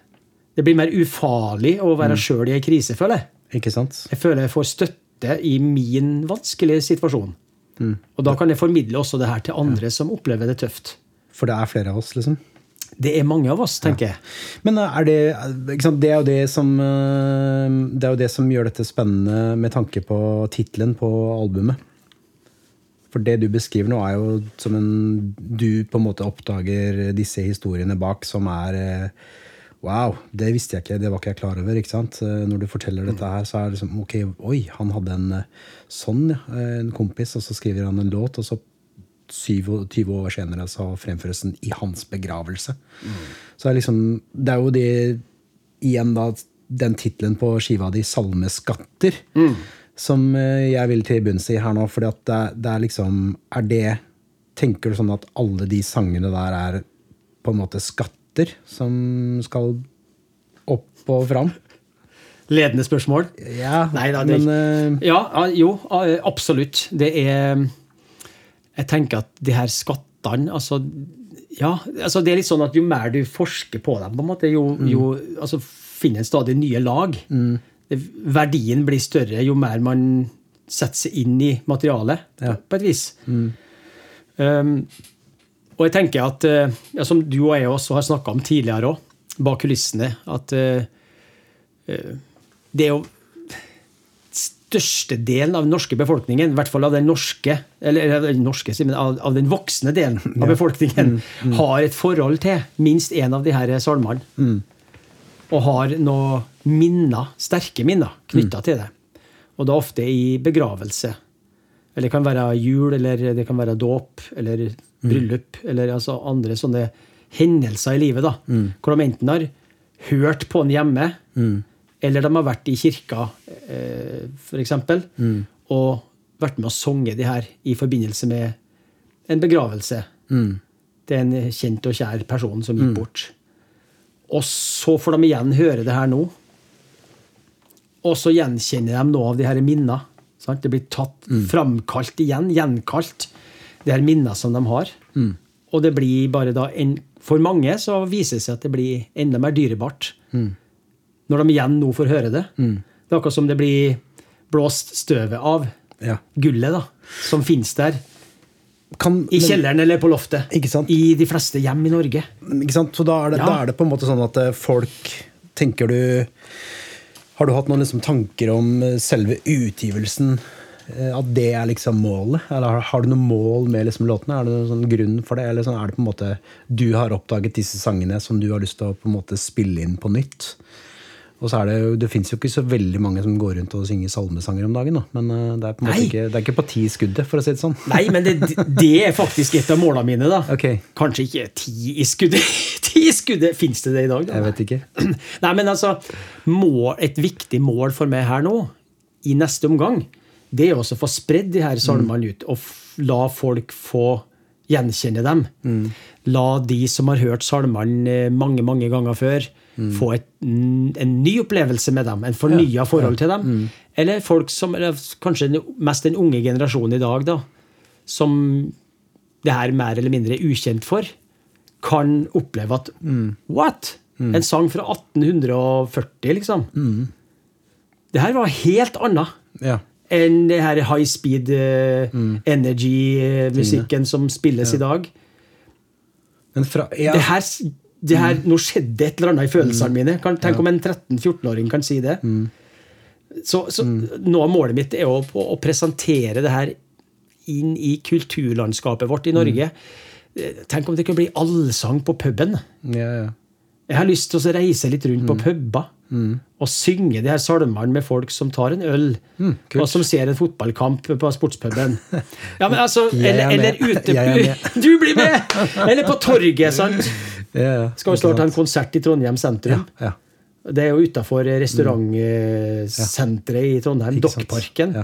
Speaker 2: Det blir mer ufarlig å være selv sjøl i ei krise, føler jeg.
Speaker 1: Ikke sant?
Speaker 2: Jeg føler jeg får støtte i min vanskelige situasjon. Og da kan jeg formidle også det her til andre som opplever det tøft.
Speaker 1: For det er flere av oss, liksom.
Speaker 2: Det er mange av oss, tenker jeg.
Speaker 1: Men eh, er det ikke sant, Det er jo det som eh, Det er jo det som gjør dette spennende med tanke på tittelen på albumet. For det du beskriver nå, er jo som en Du på en måte oppdager disse historiene bak som er eh, Wow, det visste jeg ikke, det var ikke jeg klar over. ikke sant? Eh, Når du forteller dette her, så er det liksom Ok, oi, han hadde en eh, sånn, ja. eh, En kompis, og så skriver han en låt, og så 27 år senere så fremføres den i hans begravelse. Så det er liksom, det er jo det igjen da, den tittelen på skiva di, 'Salmeskatter', som eh, jeg vil til bunns i her nå. fordi at det, er- det er liksom Er det Tenker du sånn at alle de sangene der er på en måte skatter som skal opp og fram?
Speaker 2: Ledende spørsmål?
Speaker 1: Ja,
Speaker 2: Nei da, det
Speaker 1: men, eh,
Speaker 2: Ja, ja, jo, a- absolutt. Det er Jeg tenker at de her skattene, altså Ja, altså det er litt sånn at jo mer du forsker på dem, på en måte, jo, jo altså, finner en stadig nye lag. Det- Verdien blir større jo mer man setter seg inn i materialet,
Speaker 1: Ja.
Speaker 2: på et vis. Um, og jeg tenker at, eh, ja, som du og jeg også har snakka om tidligere òg, bak kulissene, at eh, eh, det er jo største delen av den norske befolkningen, i hvert fall av den norske, eller, eller av den norske, sier jeg, men av, av den voksne delen av befolkningen, har et forhold til minst én av de her salmene. Og har noe minner, sterke minner, knytta til det. Og da ofte i begravelse. Eller det kan være jul, eller det kan være dåp, eller bryllup, eller altså andre sånne hendelser i livet, da. Hvor de enten har hørt på den hjemme, eller de har vært i kirka, eh, for eksempel, og vært med og sunget de her i forbindelse med en begravelse. Det er en kjent og kjær person som gikk bort. Og så får de igjen høre det her nå. Og så gjenkjenner de noe av de her minnene. Sant? Det blir tatt,
Speaker 1: Mm.
Speaker 2: framkalt igjen, gjenkalt, de her minnene som de har.
Speaker 1: Mm.
Speaker 2: Og det blir bare da en, For mange så viser det seg at det blir enda mer dyrebart
Speaker 1: Mm.
Speaker 2: når de igjen nå får høre det. Det er akkurat som det blir blåst støvet av
Speaker 1: Ja.
Speaker 2: gullet da, som finnes der.
Speaker 1: kan,
Speaker 2: I
Speaker 1: men-
Speaker 2: kjelleren eller på loftet.
Speaker 1: Ikke sant?
Speaker 2: I de fleste hjem i Norge.
Speaker 1: Ikke sant? Så da er, det,
Speaker 2: Ja.
Speaker 1: da er det på en måte sånn at eh, folk tenker du Har du hatt noen liksom tanker om eh, selve utgivelsen? Eh, At det er liksom målet? Eller har, har du noe mål med liksom låtene? Er det noen sånn grunn for det? Eller sånn, er det på en måte du har oppdaget disse sangene som du har lyst til å på en måte spille inn på nytt? Og så er Det jo, det fins jo ikke så veldig mange som går rundt og synger salmesanger om dagen. Da. Men eh, det er på en måte
Speaker 2: Nei.
Speaker 1: ikke, det er ikke på ti i skuddet, for å si det sånn.
Speaker 2: Nei, men det, det er faktisk et av målene mine. da.
Speaker 1: Ok.
Speaker 2: Kanskje ikke ti i skuddet. ti i skuddet, Fins det det i dag? da?
Speaker 1: Jeg vet ikke.
Speaker 2: Nei, men altså, mål, Et viktig mål for meg her nå, i neste omgang, det er også å få spredd de her salmene ut, og f la folk få gjenkjenne dem. La de som har hørt salmene eh, mange mange ganger før, Få et, en ny opplevelse med dem, en fornya forhold til dem. Eller folk som eller Kanskje den- mest den unge generasjonen i dag, da, som det her mer eller mindre er ukjent for, kan oppleve at What?! En sang fra 1840, liksom. Det her var helt annet
Speaker 1: Ja.
Speaker 2: enn det her high speed eh, energy-musikken som spilles i dag.
Speaker 1: Men fra, ja, Mm.
Speaker 2: Det her, det her, Nå skjedde det et eller annet i følelsene mine. Kan, tenk om en 13-14-åring kan si det.
Speaker 1: Mm.
Speaker 2: Så, så noe av målet mitt er å, å, å presentere det her inn i kulturlandskapet
Speaker 1: Mm.
Speaker 2: vårt i Norge. Eh, Tenk om det kunne bli allsang på puben.
Speaker 1: ja, ja.
Speaker 2: Jeg har lyst til å reise litt rundt på
Speaker 1: Mm.
Speaker 2: puber og synge de her salmene med folk som tar en øl,
Speaker 1: Mm, kult.
Speaker 2: og som ser en fotballkamp på sportspuben. Ja, men altså,
Speaker 1: Jeg er
Speaker 2: eller, eller
Speaker 1: med.
Speaker 2: ute
Speaker 1: Jeg er med.
Speaker 2: Du blir med! Eller på torget, sant?
Speaker 1: ja, ja.
Speaker 2: Skal jo snart ha en konsert i Trondheim sentrum.
Speaker 1: ja.
Speaker 2: Det er jo utafor restaurantsenteret i Trondheim,
Speaker 1: Ikke sant.
Speaker 2: Dokkparken.
Speaker 1: Ja.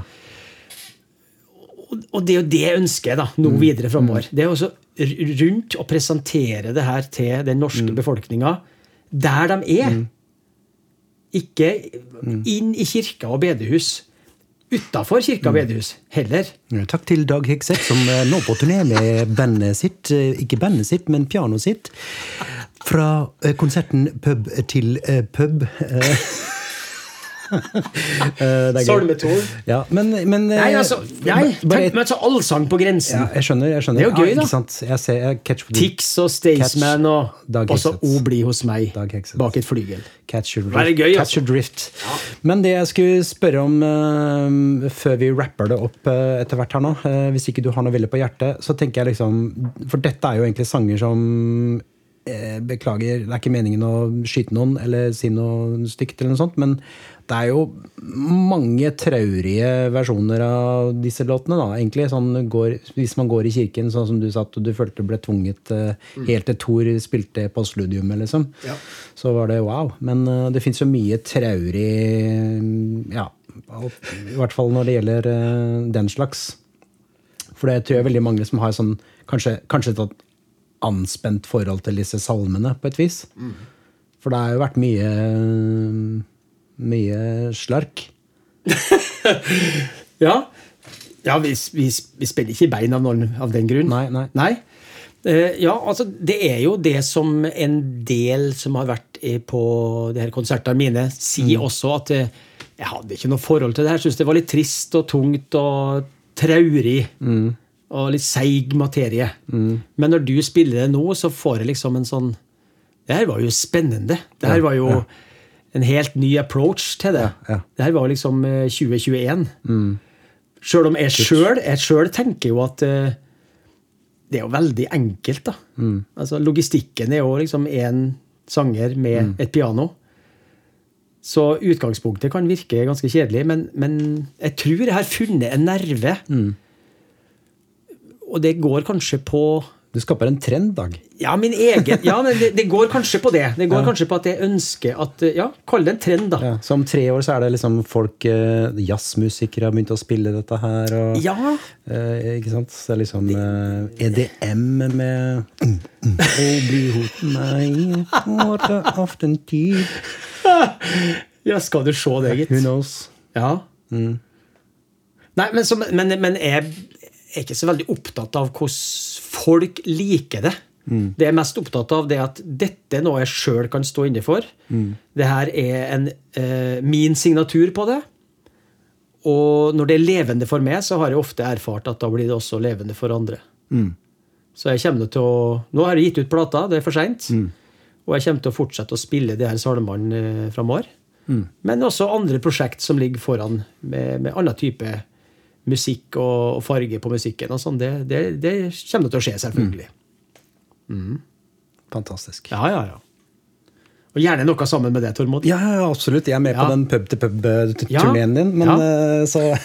Speaker 2: Og- Og det er jo det jeg ønsker da,
Speaker 1: Mm.
Speaker 2: nå videre framover. Det er også r- rundt å presentere det her til den norske
Speaker 1: Mm.
Speaker 2: befolkninga der de er. Ikke
Speaker 1: Mm.
Speaker 2: inn i kirka og bedehus. Utafor kirka
Speaker 1: Mm.
Speaker 2: og bedehus heller.
Speaker 1: Takk til Dag Hekseth, som eh, nå på turné med bandet sitt, eh, ikke bandet sitt, men pianoet sitt, fra eh, konserten pub til eh, pub. Eh, eh, det er gøy.
Speaker 2: Salmetor.
Speaker 1: Ja, men, men eh,
Speaker 2: Nei, altså, nei,
Speaker 1: bare
Speaker 2: tenk
Speaker 1: et-
Speaker 2: meg altså allsang på grensen.
Speaker 1: ja, jeg skjønner. jeg skjønner.
Speaker 2: Det er jo gøy,
Speaker 1: ja,
Speaker 2: da.
Speaker 1: Ikke sant? Jeg ser, jeg catch,
Speaker 2: Tix og Staysman og
Speaker 1: Dag
Speaker 2: Og så
Speaker 1: Hegseth.
Speaker 2: O bli hos meg
Speaker 1: Dag Hegseth.
Speaker 2: bak et flygel.
Speaker 1: catch your drift.
Speaker 2: Være gøy,
Speaker 1: catch your drift. Men det jeg skulle spørre om eh, før vi rapper det opp eh, etter hvert her nå, eh, hvis ikke du har noe veldig på hjertet, så tenker jeg liksom For dette er jo egentlig sanger som eh, Beklager, det er ikke meningen å skyte noen eller si noe stygt, eller noe sånt, men det er jo mange traurige versjoner av disse låtene, da, egentlig. Sånn går, hvis man går i kirken, sånn som du sa, at du følte du ble tvunget eh, helt til Thor spilte postludiumet, liksom. Så var det wow. Men eh, det fins jo mye traurig mm, Ja, alt, i hvert fall når det gjelder eh, den slags. For det tror jeg er veldig mange som har sånn kanskje, kanskje et sånt anspent forhold til disse salmene, på et vis.
Speaker 2: Mm.
Speaker 1: For det har jo vært mye mye slark.
Speaker 2: Ja, ja vi, vi, vi spiller ikke i bein av, noen, av den grunn.
Speaker 1: Nei, nei.
Speaker 2: Eh, ja, altså, det er jo det som en del som har vært eh, på de her konsertene mine, sier
Speaker 1: Mm.
Speaker 2: også at eh, jeg hadde ikke noe forhold til det her. Syns det var litt trist og tungt og traurig.
Speaker 1: Mm.
Speaker 2: Og litt seig materie. Men når du spiller det nå, så får jeg liksom en sånn Det her var jo spennende. Det her var jo en helt ny approach til det.
Speaker 1: Ja, ja.
Speaker 2: Det her var liksom eh, 2021. Sjøl om jeg sjøl jeg selv tenker jo at eh, det er jo veldig enkelt, da. Altså, logistikken er jo liksom én sanger med et piano. Så utgangspunktet kan virke ganske kjedelig, men, men jeg tror jeg har funnet en nerve. Og det går kanskje på
Speaker 1: Du skaper en trend, Dag.
Speaker 2: Ja, min egen Ja, men det, det går kanskje på det. Det går kanskje på at jeg ønsker at eh, Ja, kall det en trend, da.
Speaker 1: Så om tre år så er det liksom folk eh, Jazzmusikere har begynt å spille dette her. Og,
Speaker 2: ja.
Speaker 1: eh, ikke sant? Så det er liksom eh, EDM med mm, mm, «Å, bli hos meg for det er often tid».
Speaker 2: ja, skal du se det, gitt.
Speaker 1: Who knows?
Speaker 2: Ja. Nei, men, som, men, men jeg er ikke så veldig opptatt av hvordan folk liker det. Det jeg er mest opptatt av, det er at dette er noe jeg sjøl kan stå inne for. Det her er en, eh, min signatur på det. Og når det er levende for meg, så har jeg ofte erfart at da blir det også levende for andre. Så jeg kommer til å Nå har jeg gitt ut plata, det er for seint. Og jeg kommer til å fortsette å spille de her salmene eh, framover. Men også andre prosjekt som ligger foran, med, med annen type musikk og, og farge på musikken. og sånn. Det, det, det kommer til å skje, selvfølgelig.
Speaker 1: Fantastisk.
Speaker 2: Mm. Ja, ja, ja. Og gjerne noe sammen med det, Tormod.
Speaker 1: Ja, ja, absolutt. Jeg er med
Speaker 2: Ja.
Speaker 1: på den
Speaker 2: Ja.
Speaker 1: pub-til-pub-turneen eh, din. Men
Speaker 2: Ja.
Speaker 1: eh, så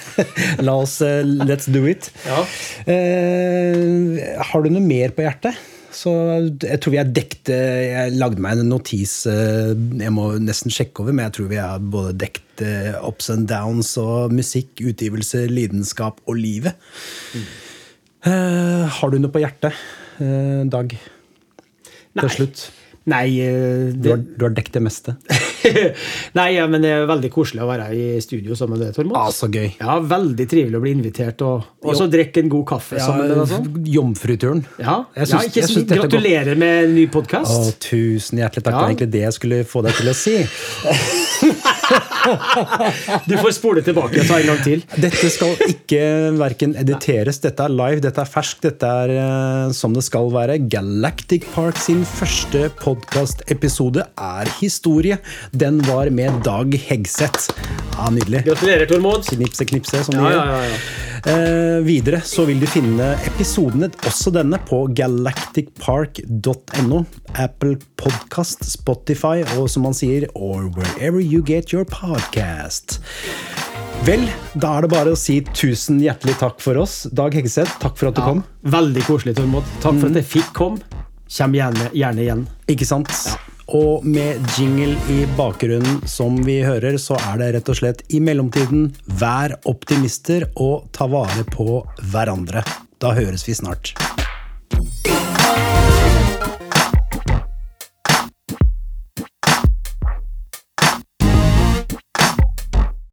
Speaker 1: la oss eh, Let's do it.
Speaker 2: Ja.
Speaker 1: Eh, har du noe mer på hjertet? Så jeg tror vi er dekte Jeg lagde meg en notis eh, jeg må nesten sjekke over, men jeg tror vi har både dekt eh, ups and downs og musikk, utgivelse, lidenskap og livet.
Speaker 2: Mm.
Speaker 1: Eh, har du noe på hjertet, eh, Dag?
Speaker 2: Nei.
Speaker 1: Til slutt.
Speaker 2: Nei, eh,
Speaker 1: Du
Speaker 2: det,
Speaker 1: har, du har dekket det meste.
Speaker 2: Nei, ja, men det er veldig koselig å være i studio sammen med deg, Tormod.
Speaker 1: Ah, så gøy.
Speaker 2: Ja, veldig trivelig å bli invitert, og, og så drikke en god kaffe sammen med deg. og sånn.
Speaker 1: Jomfruturen.
Speaker 2: Ja,
Speaker 1: Jeg syns-
Speaker 2: ja, ikke
Speaker 1: jeg
Speaker 2: så-
Speaker 1: syns dette går-
Speaker 2: Gratulerer med en ny
Speaker 1: Å,
Speaker 2: podkast.
Speaker 1: tusen hjertelig takk. Det
Speaker 2: Ja.
Speaker 1: var egentlig det jeg skulle få deg til å si.
Speaker 2: Du får spole tilbake og ta en gang til.
Speaker 1: Dette skal ikke verken editeres. Dette er live, dette er ferskt, dette er eh, som det skal være. Galactic Park sin første podkastepisode er historie. Den var med Dag Hegseth. Ja, nydelig.
Speaker 2: Gratulerer, Tormod.
Speaker 1: Knipse, knipse, som de
Speaker 2: Ja,
Speaker 1: gjør.
Speaker 2: ja, ja, ja.
Speaker 1: Eh, videre så vil du finne episodene, også denne, på galacticpark.no. Apple Podcast, Spotify og som man sier, or wherever you get your podcast. Vel, da er det bare å si tusen hjertelig takk for oss. Dag Hegseth, takk for at du
Speaker 2: Ja,
Speaker 1: kom.
Speaker 2: veldig koselig, Tormod. Takk for at jeg fikk komme. Kjem gjerne, gjerne igjen.
Speaker 1: Ikke sant? Og med jingle i bakgrunnen, som vi hører, så er det rett og slett i mellomtiden vær optimister og ta vare på hverandre. Da høres vi snart.